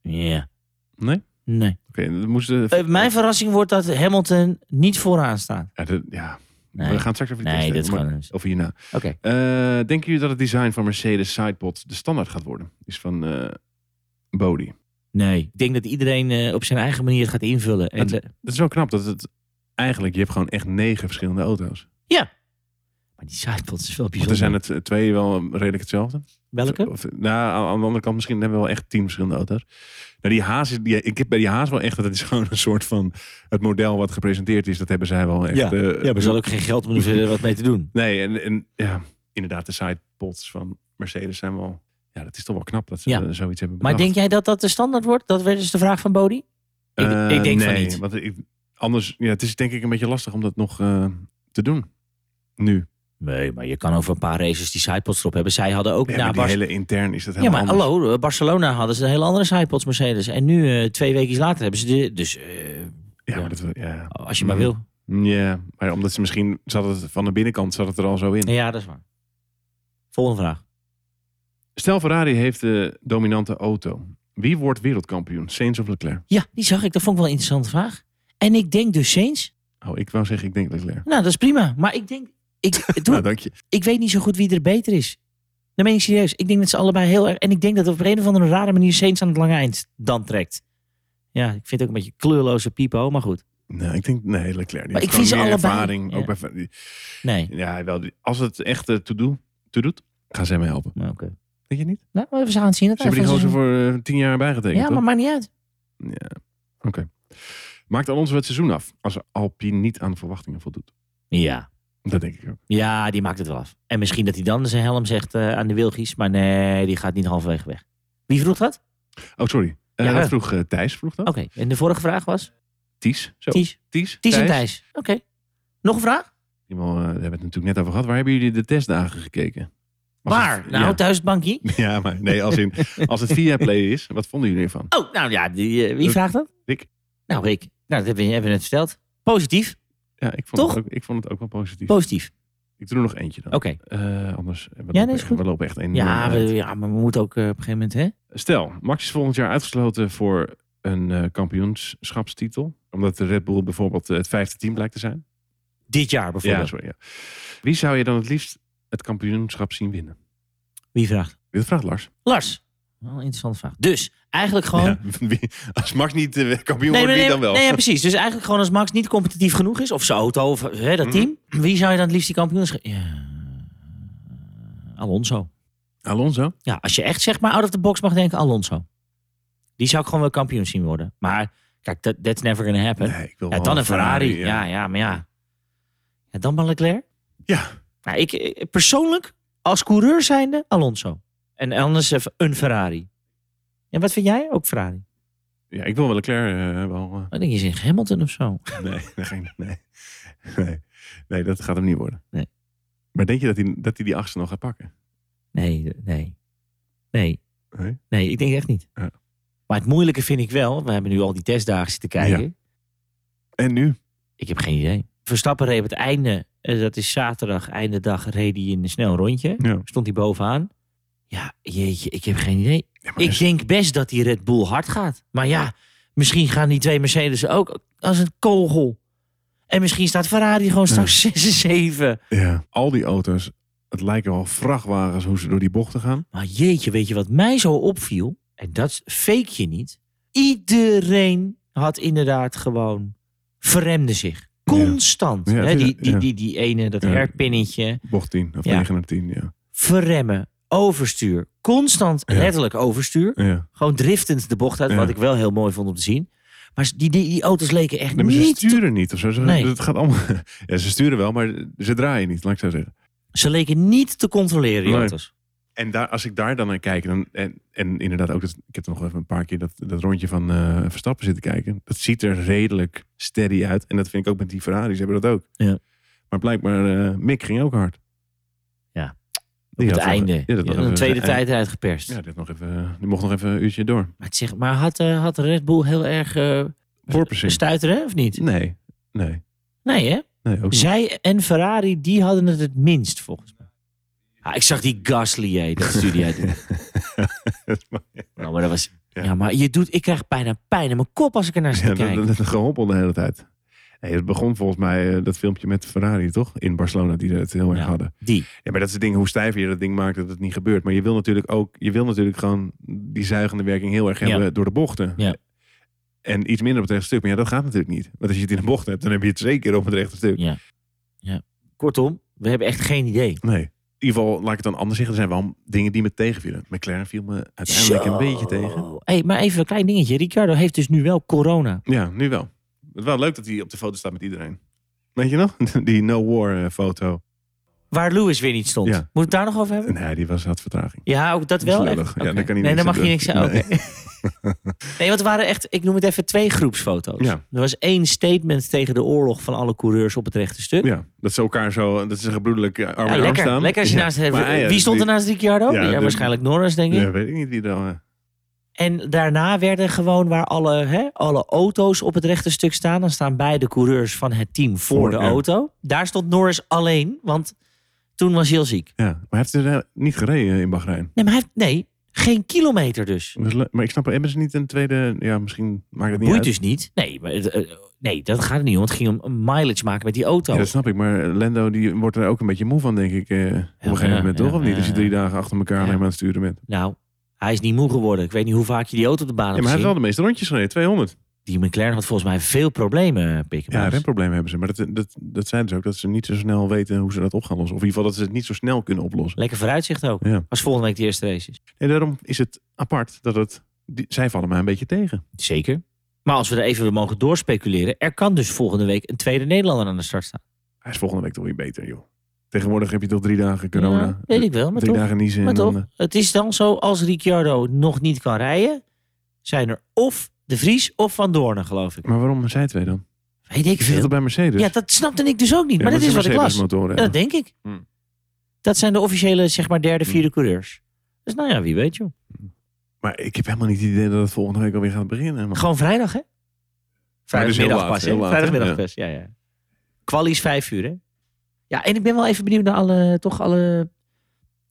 [SPEAKER 2] Ja.
[SPEAKER 3] Nee?
[SPEAKER 2] Nee.
[SPEAKER 3] dan moesten...
[SPEAKER 2] Eh, mijn verrassing wordt dat Hamilton niet vooraan staat.
[SPEAKER 3] Ja, dat- ja.
[SPEAKER 2] Nee.
[SPEAKER 3] we gaan het straks over die
[SPEAKER 2] Nee,
[SPEAKER 3] testen
[SPEAKER 2] dit
[SPEAKER 3] hebben,
[SPEAKER 2] gaan we
[SPEAKER 3] maar-
[SPEAKER 2] eens.
[SPEAKER 3] Of hierna.
[SPEAKER 2] Oké.
[SPEAKER 3] Eh, denken jullie dat het design van Mercedes sidepod de standaard gaat worden? Is van eh Bodie.
[SPEAKER 2] Nee. Ik denk dat iedereen eh, op zijn eigen manier het gaat invullen. En,
[SPEAKER 3] Het-
[SPEAKER 2] eh,
[SPEAKER 3] Dat is wel knap. Dat het eigenlijk, je hebt gewoon echt negen verschillende auto's.
[SPEAKER 2] maar die sidepods is wel
[SPEAKER 3] Want
[SPEAKER 2] bijzonder.
[SPEAKER 3] er zijn het eh, twee wel redelijk hetzelfde.
[SPEAKER 2] Welke?
[SPEAKER 3] Of, nou, aan- aan de andere kant misschien hebben we wel echt tien verschillende auto's. Nou, die haas, is- die, ik heb bij die haas wel echt, dat is gewoon een soort van, het model wat gepresenteerd is, dat hebben zij wel echt.
[SPEAKER 2] ja.
[SPEAKER 3] eh,
[SPEAKER 2] ja, maar ze hadden ook geen geld om er verder wat mee te doen.
[SPEAKER 3] Nee, en, en ja, inderdaad, de sidepods van Mercedes zijn wel, ja, dat is toch wel knap dat ze
[SPEAKER 2] Ja.
[SPEAKER 3] eh, zoiets hebben
[SPEAKER 2] Maar
[SPEAKER 3] bedacht.
[SPEAKER 2] denk jij dat dat de standaard wordt? Dat werd dus de vraag van Bodie? Ik,
[SPEAKER 3] Eh,
[SPEAKER 2] ik denk
[SPEAKER 3] nee,
[SPEAKER 2] van niet.
[SPEAKER 3] Want ik, anders, ja, het is denk ik een beetje lastig om dat nog eh, te doen. Nu.
[SPEAKER 2] Nee, maar je kan over een paar races die sidepods erop hebben. Zij hadden ook
[SPEAKER 3] Ja,
[SPEAKER 2] na
[SPEAKER 3] maar die
[SPEAKER 2] Bar-
[SPEAKER 3] hele intern is dat
[SPEAKER 2] Nou, Ja,
[SPEAKER 3] helemaal
[SPEAKER 2] maar hallo, eh, Barcelona hadden ze een hele andere sidepods Mercedes. En nu, eh, twee weken later, hebben ze de... Dus eh,
[SPEAKER 3] Ja, maar dat, we- ja.
[SPEAKER 2] als je maar
[SPEAKER 3] Mm.
[SPEAKER 2] wil.
[SPEAKER 3] ja, maar omdat ze misschien, zat het, van de binnenkant zat het er al zo in.
[SPEAKER 2] Ja, dat is waar. Volgende vraag.
[SPEAKER 3] Stel Ferrari heeft de dominante auto. Wie wordt wereldkampioen? Sainz of Leclerc?
[SPEAKER 2] Ja, die zag ik. Dat vond ik wel een interessante vraag. En ik denk dus Sainz.
[SPEAKER 3] Oh, ik wou zeggen, ik denk Leclerc.
[SPEAKER 2] Nou, dat is prima. Maar ik denk... Ik,
[SPEAKER 3] [laughs]
[SPEAKER 2] doe,
[SPEAKER 3] Nou, dank je.
[SPEAKER 2] ik weet niet zo goed wie er beter is. Dan ben ik serieus. Ik denk dat ze allebei heel erg... En ik denk dat op een of andere rare manier Sainz aan het lange eind dan trekt. Ja, ik vind het ook een beetje kleurloze piepo, maar goed.
[SPEAKER 3] Nou, ik denk, nee, Leclerc. Die
[SPEAKER 2] Maar
[SPEAKER 3] heeft
[SPEAKER 2] ik vind
[SPEAKER 3] gewoon
[SPEAKER 2] ze
[SPEAKER 3] meer
[SPEAKER 2] allebei,
[SPEAKER 3] ervaring.
[SPEAKER 2] ja.
[SPEAKER 3] Ook bij, Fer- die-
[SPEAKER 2] Nee.
[SPEAKER 3] ja, wel, die- als het echt eh, toe doet- toe doet, gaan zij mij helpen.
[SPEAKER 2] Maar Oké.
[SPEAKER 3] Denk je niet?
[SPEAKER 2] Nou, maar even aan zien. Het
[SPEAKER 3] Ze hebben die
[SPEAKER 2] wel
[SPEAKER 3] gozer
[SPEAKER 2] eens-
[SPEAKER 3] voor eh, tien jaar bijgetekend,
[SPEAKER 2] Ja, maar
[SPEAKER 3] toch?
[SPEAKER 2] maakt niet uit.
[SPEAKER 3] Oké. Maakt Alonso het seizoen af als Alpine niet aan de verwachtingen voldoet?
[SPEAKER 2] Ja.
[SPEAKER 3] Dat denk ik ook.
[SPEAKER 2] ja, die maakt het wel af. En misschien dat hij dan zijn helm zegt eh, aan de Wilgies. Maar nee, die gaat niet halverwege weg. Wie vroeg dat?
[SPEAKER 3] Oh, sorry. Eh,
[SPEAKER 2] Ja.
[SPEAKER 3] dat vroeg eh, Thijs, vroeg dat?
[SPEAKER 2] Oké, en de vorige vraag was?
[SPEAKER 3] Ties. Zo.
[SPEAKER 2] Oh. Ties.
[SPEAKER 3] Ties.
[SPEAKER 2] Ties en Thijs. Oké. Nog een vraag?
[SPEAKER 3] Iemand, eh, daar hebben we het natuurlijk net over gehad. Waar hebben jullie de testdagen gekeken? Was
[SPEAKER 2] Waar?
[SPEAKER 3] het-
[SPEAKER 2] nou,
[SPEAKER 3] ja.
[SPEAKER 2] thuis het bankje.
[SPEAKER 3] [laughs] Ja, maar nee, als, in, als het via play is, wat vonden jullie ervan?
[SPEAKER 2] Oh, nou ja, die, eh, wie
[SPEAKER 3] Eh,
[SPEAKER 2] vraagt dat?
[SPEAKER 3] ik.
[SPEAKER 2] Nou, ik. Nou, dat hebben we hebben we net verteld. Positief.
[SPEAKER 3] Ja, ik vond,
[SPEAKER 2] Toch?
[SPEAKER 3] Het, ook, ik vond het ook wel positief.
[SPEAKER 2] Positief.
[SPEAKER 3] ik doe er nog eentje dan.
[SPEAKER 2] Oké.
[SPEAKER 3] Eh, anders, we,
[SPEAKER 2] nee,
[SPEAKER 3] lopen,
[SPEAKER 2] is
[SPEAKER 3] echt-
[SPEAKER 2] goed.
[SPEAKER 3] we lopen echt enorm eh,
[SPEAKER 2] Ja, we-
[SPEAKER 3] uit.
[SPEAKER 2] ja, maar we moeten ook eh, op een gegeven moment, hè?
[SPEAKER 3] Stel, Max is volgend jaar uitgesloten voor een eh, kampioenschapstitel. Omdat de Red Bull bijvoorbeeld eh, het vijfde team blijkt te zijn.
[SPEAKER 2] Dit jaar
[SPEAKER 3] Ja,
[SPEAKER 2] bijvoorbeeld.
[SPEAKER 3] sorry. Ja. Wie zou je dan het liefst het kampioenschap zien winnen?
[SPEAKER 2] Wie vraagt?
[SPEAKER 3] Dit vraagt Lars.
[SPEAKER 2] Lars. Wel een interessante vraag. Dus, eigenlijk gewoon...
[SPEAKER 3] Ja, [laughs] wie- als Max niet eh, kampioen
[SPEAKER 2] Nee,
[SPEAKER 3] wordt,
[SPEAKER 2] nee,
[SPEAKER 3] wie
[SPEAKER 2] nee,
[SPEAKER 3] dan wel?
[SPEAKER 2] nee, ja, precies. Dus eigenlijk gewoon als Max niet competitief genoeg is, of zijn auto, of hè,
[SPEAKER 3] Mhm.
[SPEAKER 2] dat team, wie zou je dan het liefst die kampioenschap? Ja, Alonso.
[SPEAKER 3] Alonso?
[SPEAKER 2] Ja, als je echt zeg maar out of the box mag denken, Alonso. Die zou ik gewoon wel kampioen zien worden. Maar kijk, that, that's never gonna happen.
[SPEAKER 3] Nee, ik wil
[SPEAKER 2] ja,
[SPEAKER 3] wel
[SPEAKER 2] dan een Ferrari. ja.
[SPEAKER 3] ja.
[SPEAKER 2] ja, maar ja. ja dan maar Leclerc.
[SPEAKER 3] Ja.
[SPEAKER 2] Nou, ik eh, persoonlijk, als coureur zijnde, Alonso. En anders even een Ferrari. En wat vind jij? Ook Ferrari.
[SPEAKER 3] Ja, ik wil wel Leclerc eh, wel... eh,
[SPEAKER 2] Ik denk, je zegt Hamilton of
[SPEAKER 3] [laughs]
[SPEAKER 2] zo.
[SPEAKER 3] Nee, dat ging- nee. Nee. nee, dat gaat hem niet worden.
[SPEAKER 2] Nee.
[SPEAKER 3] Maar denk je dat hij, dat hij die achtste nog gaat pakken?
[SPEAKER 2] Nee, nee. Nee.
[SPEAKER 3] Nee?
[SPEAKER 2] Nee, ik denk echt niet.
[SPEAKER 3] Ja.
[SPEAKER 2] Maar het moeilijke vind ik wel, we hebben nu al die testdagen zitten kijken.
[SPEAKER 3] En nu?
[SPEAKER 2] Ik heb geen idee. Verstappen reed op het einde, eh, dat is zaterdag, einde dag, reed hij in een snel rondje.
[SPEAKER 3] Ja.
[SPEAKER 2] Stond hij bovenaan. Ja, jeetje, ik heb geen idee.
[SPEAKER 3] maar
[SPEAKER 2] ik
[SPEAKER 3] is-
[SPEAKER 2] denk best dat die Red Bull hard gaat. Maar ja, misschien gaan die twee Mercedes ook als een kogel. En misschien staat Ferrari gewoon straks [laughs] 6 en 7.
[SPEAKER 3] Ja. Al die auto's, het lijken wel vrachtwagens hoe ze door die bochten gaan.
[SPEAKER 2] Maar jeetje, weet je wat mij zo opviel? En dat fake je niet. Iedereen had inderdaad gewoon verremde zich. Constant.
[SPEAKER 3] Ja, het
[SPEAKER 2] hè?
[SPEAKER 3] is-
[SPEAKER 2] Die, die,
[SPEAKER 3] ja.
[SPEAKER 2] die, die ene, dat
[SPEAKER 3] Ja.
[SPEAKER 2] herpinnetje.
[SPEAKER 3] Bocht 10 of
[SPEAKER 2] Ja.
[SPEAKER 3] 9 naar 10, ja.
[SPEAKER 2] Verremmen. Overstuur. Constant
[SPEAKER 3] Ja.
[SPEAKER 2] letterlijk overstuur.
[SPEAKER 3] ja.
[SPEAKER 2] Gewoon driftend de bocht uit.
[SPEAKER 3] Ja.
[SPEAKER 2] Wat ik wel heel mooi vond om te zien. Maar die, die, die auto's leken echt
[SPEAKER 3] Nee, maar ze
[SPEAKER 2] niet... te-
[SPEAKER 3] sturen niet of zo. Ze,
[SPEAKER 2] Nee.
[SPEAKER 3] Het gaat allemaal... [laughs] Ja, ze sturen wel, maar ze draaien niet, laat ik zo zeggen.
[SPEAKER 2] Ze leken niet te controleren, die
[SPEAKER 3] Nee.
[SPEAKER 2] auto's.
[SPEAKER 3] En daar, als ik daar dan naar kijk, dan, en, en inderdaad ook, dat, ik heb nog even een paar keer dat, dat rondje van eh, Verstappen zitten kijken. Dat ziet er redelijk steady uit. En dat vind ik ook met die Ferraris hebben dat ook.
[SPEAKER 2] Ja.
[SPEAKER 3] Maar blijkbaar, eh, Mick ging ook hard.
[SPEAKER 2] Ja.
[SPEAKER 3] Die
[SPEAKER 2] het
[SPEAKER 3] had nog-
[SPEAKER 2] einde.
[SPEAKER 3] ja, die had nog
[SPEAKER 2] Ja, een
[SPEAKER 3] even-
[SPEAKER 2] tweede
[SPEAKER 3] en-
[SPEAKER 2] tijd uitgeperst.
[SPEAKER 3] Ja, dit nog even, die mocht nog even een uurtje door.
[SPEAKER 2] Maar, het zeg, maar had, eh, had Red Bull heel erg eh
[SPEAKER 3] Porpoising.
[SPEAKER 2] stuiteren, of niet?
[SPEAKER 3] Nee, nee,
[SPEAKER 2] Nee, hè?
[SPEAKER 3] nee, ook [laughs] niet.
[SPEAKER 2] Zij en Ferrari, die hadden het het minst, volgens mij. Ah, ik zag die Gasly, hè,
[SPEAKER 3] [laughs]
[SPEAKER 2] dat studie doen. Nou, maar dat was... Ja.
[SPEAKER 3] Ja.
[SPEAKER 2] maar je doet... Ik krijg bijna pijn in mijn kop als ik ernaar zit
[SPEAKER 3] Ja,
[SPEAKER 2] te
[SPEAKER 3] dat,
[SPEAKER 2] kijken.
[SPEAKER 3] dat, dat gehoppel de hele tijd. Nee, het begon volgens mij eh, dat filmpje met Ferrari, toch? In Barcelona, die het heel erg
[SPEAKER 2] Ja.
[SPEAKER 3] hadden.
[SPEAKER 2] Die.
[SPEAKER 3] Ja, maar dat is het ding, hoe stijver je dat ding maakt, dat het niet gebeurt. Maar je wil natuurlijk ook, je wil natuurlijk gewoon die zuigende werking heel erg
[SPEAKER 2] Ja.
[SPEAKER 3] hebben door de bochten.
[SPEAKER 2] Ja.
[SPEAKER 3] En iets minder op het rechte stuk. Maar ja, dat gaat natuurlijk niet. Want als je het in de bocht hebt, dan heb je het zeker op het rechte stuk.
[SPEAKER 2] Ja. ja. Kortom, we hebben echt geen idee.
[SPEAKER 3] Nee. In ieder geval, laat ik het dan anders zeggen, er zijn wel dingen die me tegenvielen. McLaren viel me uiteindelijk
[SPEAKER 2] Zo.
[SPEAKER 3] een beetje tegen.
[SPEAKER 2] Hey, maar even een klein dingetje. Ricardo heeft dus nu wel corona.
[SPEAKER 3] Ja, nu wel. Het is wel leuk dat hij op de foto staat met iedereen. Weet je nog? [laughs] Die no war eh, foto.
[SPEAKER 2] Waar Lewis weer niet stond.
[SPEAKER 3] Ja.
[SPEAKER 2] Moet ik het daar nog over hebben?
[SPEAKER 3] Nee, die was, had vertraging.
[SPEAKER 2] Ja, ook dat wel.
[SPEAKER 3] Dat is
[SPEAKER 2] Echt?
[SPEAKER 3] lullig. Ja,
[SPEAKER 2] Oké.
[SPEAKER 3] daar kan hij
[SPEAKER 2] nee, daar
[SPEAKER 3] niks
[SPEAKER 2] mag je
[SPEAKER 3] aan
[SPEAKER 2] niks aan.
[SPEAKER 3] doen.
[SPEAKER 2] Oké. nee, want er waren echt, ik noem het even twee groepsfoto's.
[SPEAKER 3] Ja.
[SPEAKER 2] Er was één statement tegen de oorlog van alle coureurs op het rechte stuk.
[SPEAKER 3] Ja, dat ze elkaar zo, dat ze gebroedelijk eh, arm
[SPEAKER 2] Ja,
[SPEAKER 3] in arm
[SPEAKER 2] Ah, lekker,
[SPEAKER 3] staan.
[SPEAKER 2] lekker als je
[SPEAKER 3] Ja.
[SPEAKER 2] naast het-
[SPEAKER 3] Maar, ja, dus
[SPEAKER 2] Wie stond er nou?
[SPEAKER 3] die-
[SPEAKER 2] naast Ricciardo?
[SPEAKER 3] Ja,
[SPEAKER 2] Ja,
[SPEAKER 3] de-
[SPEAKER 2] waarschijnlijk Norris, denk ik.
[SPEAKER 3] Ja, weet ik niet wie dan. eh.
[SPEAKER 2] En daarna werden gewoon waar alle, hè, alle auto's op het rechte stuk staan. Dan staan beide coureurs van het team voor,
[SPEAKER 3] Voor,
[SPEAKER 2] de
[SPEAKER 3] ja.
[SPEAKER 2] auto. Daar stond Norris alleen, want toen was hij heel ziek.
[SPEAKER 3] Ja, maar hij heeft er eh, niet gereden in Bahrein.
[SPEAKER 2] Nee, maar hij heeft, nee geen kilometer dus.
[SPEAKER 3] Dat is le- Maar ik snap, hebben ze niet een tweede... Ja, misschien maakt het niet
[SPEAKER 2] Boeit
[SPEAKER 3] uit.
[SPEAKER 2] dus niet. Nee, maar, het, eh, nee, dat gaat er niet om. Het ging om een mileage maken met die auto.
[SPEAKER 3] Ja, dus- dat snap ik. Maar Lendo die wordt er ook een beetje moe van, denk ik. eh, op een gegeven
[SPEAKER 2] ja,
[SPEAKER 3] moment,
[SPEAKER 2] ja,
[SPEAKER 3] toch? of niet? Als je
[SPEAKER 2] ja,
[SPEAKER 3] drie
[SPEAKER 2] ja.
[SPEAKER 3] dagen achter elkaar
[SPEAKER 2] Ja.
[SPEAKER 3] alleen maar aan het sturen bent.
[SPEAKER 2] Nou, hij is niet moe geworden. Ik weet niet hoe vaak je die auto op de baan
[SPEAKER 3] Ja, maar
[SPEAKER 2] hebt
[SPEAKER 3] hij heeft wel
[SPEAKER 2] gezien.
[SPEAKER 3] de meeste rondjes gereden. 200.
[SPEAKER 2] Die McLaren had volgens mij veel problemen, eh, Pik.
[SPEAKER 3] Ja, remproblemen hebben ze. Maar dat, dat, dat zijn dus ook. Dat ze niet zo snel weten hoe ze dat op gaan lossen. Of in ieder geval dat ze het niet zo snel kunnen oplossen.
[SPEAKER 2] Lekker vooruitzicht ook.
[SPEAKER 3] Ja.
[SPEAKER 2] Als volgende week de eerste race is.
[SPEAKER 3] En daarom is het apart dat het... Die, zij vallen mij een beetje tegen.
[SPEAKER 2] Zeker. Maar als we er even weer mogen doorspeculeren. Er kan dus volgende week een tweede Nederlander aan de start staan.
[SPEAKER 3] Hij is volgende week toch weer beter, joh. Tegenwoordig heb je toch drie dagen corona.
[SPEAKER 2] Ja, weet ik wel, maar
[SPEAKER 3] drie
[SPEAKER 2] toch.
[SPEAKER 3] dagen niezen
[SPEAKER 2] Maar
[SPEAKER 3] en dan... eh,
[SPEAKER 2] toch, het is dan zo als Ricciardo nog niet kan rijden. Zijn er of De Vries of Van Doornen, geloof ik.
[SPEAKER 3] eh, Maar waarom zij twee dan?
[SPEAKER 2] Weet ik
[SPEAKER 3] Ik zit
[SPEAKER 2] veel.
[SPEAKER 3] dat bij Mercedes.
[SPEAKER 2] Ja, dat snapte ik dus ook niet. maar dat is wat ik las.
[SPEAKER 3] Motoren,
[SPEAKER 2] Ja, dat denk ik.
[SPEAKER 3] Hmm.
[SPEAKER 2] Dat zijn de officiële, zeg maar, derde, vierde coureurs. Dus nou ja, wie weet joh.
[SPEAKER 3] Maar ik heb helemaal niet het idee dat het volgende week alweer gaat beginnen. man.
[SPEAKER 2] Gewoon vrijdag, hè? Vrijdagmiddag
[SPEAKER 3] heel laat,
[SPEAKER 2] pas, hè?
[SPEAKER 3] heel laat, hè?
[SPEAKER 2] Vrijdagmiddag
[SPEAKER 3] Ja.
[SPEAKER 2] pas, ja, ja. Quali is vijf uur, hè? Ja, en ik ben wel even benieuwd naar alle, toch alle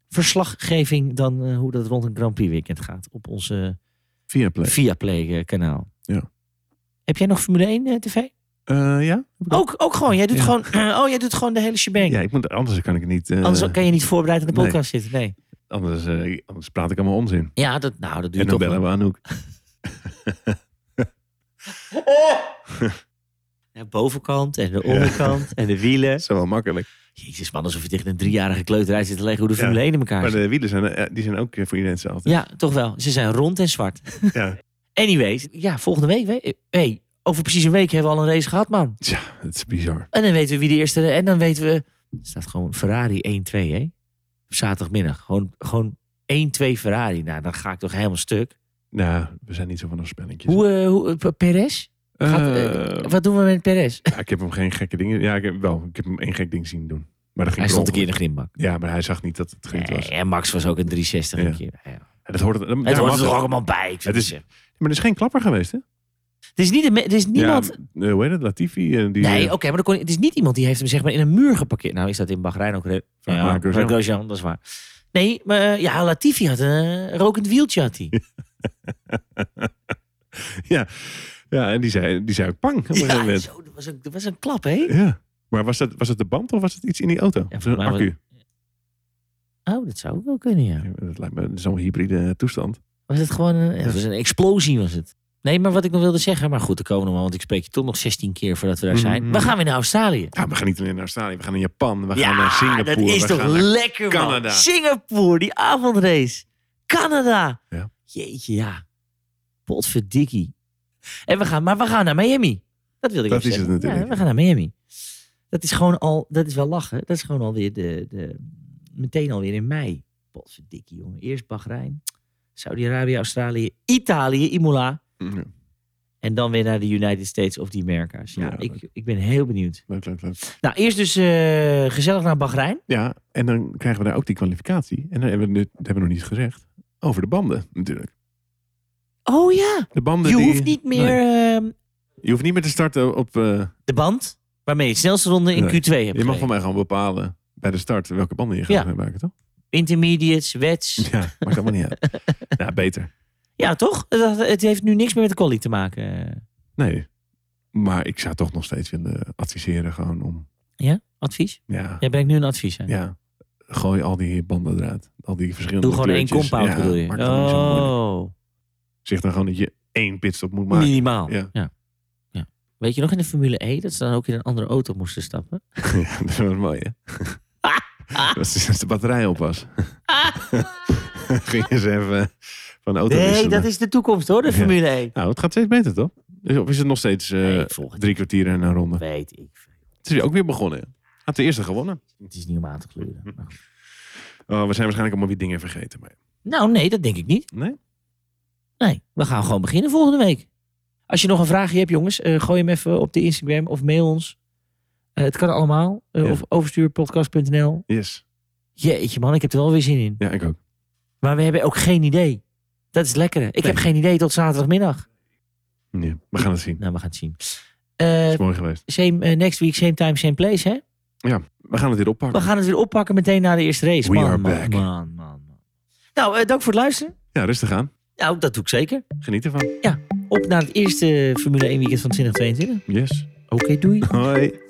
[SPEAKER 2] verslaggeving dan eh, hoe dat rond een Grand Prix weekend gaat op onze
[SPEAKER 3] Via Play.
[SPEAKER 2] Viaplay eh, kanaal.
[SPEAKER 3] Ja.
[SPEAKER 2] Heb jij nog Formule 1 eh, tv?
[SPEAKER 3] Eh, ja?
[SPEAKER 2] Ook, ook gewoon, jij doet
[SPEAKER 3] Ja.
[SPEAKER 2] gewoon, oh, jij doet gewoon de hele shebang.
[SPEAKER 3] Ja, ik moet, anders kan ik het niet... eh,
[SPEAKER 2] Anders kan je niet voorbereid in de
[SPEAKER 3] nee.
[SPEAKER 2] podcast zitten, nee.
[SPEAKER 3] anders, eh, anders praat ik allemaal onzin.
[SPEAKER 2] Ja, dat, nou, dat doe je
[SPEAKER 3] En dan
[SPEAKER 2] toch wel.
[SPEAKER 3] bellen we Anouk.
[SPEAKER 2] De bovenkant en de onderkant en de wielen.
[SPEAKER 3] Dat is wel makkelijk.
[SPEAKER 2] Jezus man, alsof je tegen een driejarige kleuter uit zit te leggen hoe de Formule 1 in elkaar
[SPEAKER 3] Maar
[SPEAKER 2] zit.
[SPEAKER 3] de wielen zijn, eh, die zijn ook eh, voor iedereen hetzelfde.
[SPEAKER 2] Ja, toch wel. Ze zijn rond en zwart.
[SPEAKER 3] [laughs] Ja.
[SPEAKER 2] Anyways, ja, volgende week. we- Hey, over precies een week hebben we al een race gehad, man.
[SPEAKER 3] Tja, het is bizar.
[SPEAKER 2] En dan weten we wie de eerste... En dan weten we... Er staat gewoon Ferrari 1-2, hè? Op zaterdagmiddag. Gewoon, gewoon 1-2 Ferrari. Nou, dan ga ik toch helemaal stuk.
[SPEAKER 3] Nou, we zijn niet zo van een spelletje.
[SPEAKER 2] Hoe... eh, hoe eh, Perez? Gaat, eh, wat doen we met Perez?
[SPEAKER 3] ja, ik heb hem geen gekke dingen... Ja, ik heb, wel, ik heb hem één gek ding zien doen. Maar dat ging
[SPEAKER 2] Hij
[SPEAKER 3] per
[SPEAKER 2] stond een keer in de
[SPEAKER 3] ongeluk.
[SPEAKER 2] grindbak.
[SPEAKER 3] Ja, maar hij zag niet dat het grind was.
[SPEAKER 2] Nee, en Max was ook een 360 een
[SPEAKER 3] Ja.
[SPEAKER 2] keer. Ja.
[SPEAKER 3] En Dat hoort, dat,
[SPEAKER 2] Het hoort er toch ook allemaal bij. Ik vind
[SPEAKER 3] Het is-
[SPEAKER 2] het-
[SPEAKER 3] Maar er is geen klapper geweest, hè?
[SPEAKER 2] Het is, niet, een me- het is niemand...
[SPEAKER 3] Ja, eh, hoe heet het? Latifi? eh, Die,
[SPEAKER 2] Nee,
[SPEAKER 3] eh,
[SPEAKER 2] oké, maar dan kon, het is niet iemand die heeft hem zeg maar in een muur geparkeerd. Nou is dat in Bahrein ook... re-
[SPEAKER 3] Vaak
[SPEAKER 2] Ja,
[SPEAKER 3] maken we zo.
[SPEAKER 2] Marc Grosjean, dat is waar. Nee, maar eh, ja, Latifi had een eh, rokend wieltje had hij.
[SPEAKER 3] Ja, en die zei, die zei ook pang op een gegeven
[SPEAKER 2] Ja,
[SPEAKER 3] moment.
[SPEAKER 2] zo, dat, was een, dat was een klap, hè?
[SPEAKER 3] Ja. Maar was dat, was dat de band of was het iets in die auto?
[SPEAKER 2] Ja,
[SPEAKER 3] Of
[SPEAKER 2] volgens
[SPEAKER 3] een
[SPEAKER 2] mij
[SPEAKER 3] accu?
[SPEAKER 2] Oh, dat zou ook wel kunnen, ja.
[SPEAKER 3] Ja, Dat lijkt me dat is zo'n hybride toestand.
[SPEAKER 2] Was het gewoon een, ja, het was een explosie, was het. Nee, maar wat ik nog wilde zeggen... Maar goed, de komen nog wel, want ik spreek je toch nog 16 keer voordat we daar zijn.
[SPEAKER 3] Mhm.
[SPEAKER 2] We gaan weer naar Australië.
[SPEAKER 3] Ja, we gaan niet alleen naar Australië. We gaan naar Japan. We
[SPEAKER 2] ja,
[SPEAKER 3] gaan naar Singapore.
[SPEAKER 2] dat is
[SPEAKER 3] we
[SPEAKER 2] toch
[SPEAKER 3] gaan naar-
[SPEAKER 2] lekker, man.
[SPEAKER 3] Canada.
[SPEAKER 2] Singapore, die avondrace. Canada.
[SPEAKER 3] Ja.
[SPEAKER 2] Jeetje, ja. Potverdikkie. En we gaan, maar we gaan naar Miami. Dat wilde ik
[SPEAKER 3] Dat
[SPEAKER 2] even
[SPEAKER 3] is het
[SPEAKER 2] zeggen.
[SPEAKER 3] natuurlijk,
[SPEAKER 2] Ja, we
[SPEAKER 3] ja.
[SPEAKER 2] gaan naar Miami. Dat is gewoon al, dat is wel lachen. Dat is gewoon alweer de, de meteen alweer in mei. Potverdikkie, jongen. Eerst Bahrein, Saudi-Arabië, Australië, Italië, Imola.
[SPEAKER 3] Mm, Ja.
[SPEAKER 2] En dan weer naar de United States of die Amerika's. Ja,
[SPEAKER 3] Ja,
[SPEAKER 2] ik, ik ben heel benieuwd.
[SPEAKER 3] Leuk, leuk, leuk.
[SPEAKER 2] Nou, eerst dus eh, gezellig naar Bahrein.
[SPEAKER 3] Ja, en dan krijgen we daar ook die kwalificatie. En dan hebben we, nu, dat hebben we nog niet gezegd. Over de banden, natuurlijk.
[SPEAKER 2] Oh ja,
[SPEAKER 3] De banden
[SPEAKER 2] je
[SPEAKER 3] die-
[SPEAKER 2] hoeft niet meer
[SPEAKER 3] Nee.
[SPEAKER 2] ehm,
[SPEAKER 3] je hoeft niet meer te starten op... eh,
[SPEAKER 2] de band waarmee je de snelste ronde in
[SPEAKER 3] Nee.
[SPEAKER 2] Q2 hebt.
[SPEAKER 3] je mag van
[SPEAKER 2] gereden.
[SPEAKER 3] mij gewoon bepalen bij de start welke banden je gaat
[SPEAKER 2] Ja.
[SPEAKER 3] gebruiken, toch? [laughs]
[SPEAKER 2] Intermediates, wets.
[SPEAKER 3] Ja, maakt allemaal niet uit.
[SPEAKER 2] [laughs]
[SPEAKER 3] Ja, beter.
[SPEAKER 2] Ja, toch? Dat- Het heeft nu niks meer met de quali te maken. eh,
[SPEAKER 3] Nee. Maar ik zou toch nog steeds willen adviseren gewoon om...
[SPEAKER 2] Ja? Advies?
[SPEAKER 3] Ja,
[SPEAKER 2] Jij brengt nu een advies aan.
[SPEAKER 3] ja. Gooi al die banden eruit. Al die verschillende
[SPEAKER 2] Doe gewoon één
[SPEAKER 3] kleurtjes.
[SPEAKER 2] compound,
[SPEAKER 3] ja,
[SPEAKER 2] bedoel je?
[SPEAKER 3] maakt allemaal niet zo moeilijk.
[SPEAKER 2] Oh,
[SPEAKER 3] Zeg dan gewoon dat je één pitstop moet maken.
[SPEAKER 2] minimaal. Ja.
[SPEAKER 3] Ja.
[SPEAKER 2] Ja. Weet je nog in de Formule E dat ze dan ook in een andere auto moesten stappen?
[SPEAKER 3] Ja, [laughs] dat was mooi, hè? [laughs] Dat was sinds de batterij op [laughs] was. Gingen ze even van de auto
[SPEAKER 2] Nee,
[SPEAKER 3] wisselen.
[SPEAKER 2] dat is de toekomst hoor, de
[SPEAKER 3] Ja.
[SPEAKER 2] Formule E.
[SPEAKER 3] Nou, het gaat steeds beter, toch? Dus Of is het nog steeds eh,
[SPEAKER 2] Nee, ik volg het.
[SPEAKER 3] drie kwartier en een ronde?
[SPEAKER 2] Weet ik. veel.
[SPEAKER 3] Het is weer ook weer begonnen. hè? Had de eerste gewonnen.
[SPEAKER 2] Het is niet om aan te
[SPEAKER 3] Hm.
[SPEAKER 2] kleuren. Maar goed.
[SPEAKER 3] Oh, we zijn waarschijnlijk allemaal weer dingen vergeten. Maar...
[SPEAKER 2] Nou, nee, dat denk ik niet.
[SPEAKER 3] Nee?
[SPEAKER 2] Nee, we gaan gewoon beginnen volgende week. Als je nog een vraagje hebt, jongens, eh, gooi hem even op de Instagram of mail ons. Eh, het kan allemaal. Eh,
[SPEAKER 3] Ja.
[SPEAKER 2] Of overstuurpodcast.nl.
[SPEAKER 3] Yes.
[SPEAKER 2] Jeetje man, ik heb er wel weer zin in.
[SPEAKER 3] Ja, ik ook.
[SPEAKER 2] Maar we hebben ook geen idee. Dat is het lekkere. Ik heb geen idee tot zaterdagmiddag.
[SPEAKER 3] Nee, we gaan het zien.
[SPEAKER 2] Nou, we gaan het zien.
[SPEAKER 3] Het
[SPEAKER 2] Eh,
[SPEAKER 3] is mooi geweest.
[SPEAKER 2] same, eh, next week, same time, same place, hè?
[SPEAKER 3] We gaan het weer oppakken.
[SPEAKER 2] We gaan het weer oppakken meteen na de eerste race.
[SPEAKER 3] We
[SPEAKER 2] man,
[SPEAKER 3] are
[SPEAKER 2] man,
[SPEAKER 3] back.
[SPEAKER 2] man, man, man. Nou, eh, dank voor het luisteren.
[SPEAKER 3] Ja, rustig aan.
[SPEAKER 2] Nou, dat doe ik zeker.
[SPEAKER 3] Geniet ervan.
[SPEAKER 2] Op naar het eerste Formule 1 weekend van 2022.
[SPEAKER 3] Yes.
[SPEAKER 2] Oké, doei.
[SPEAKER 3] Hoi.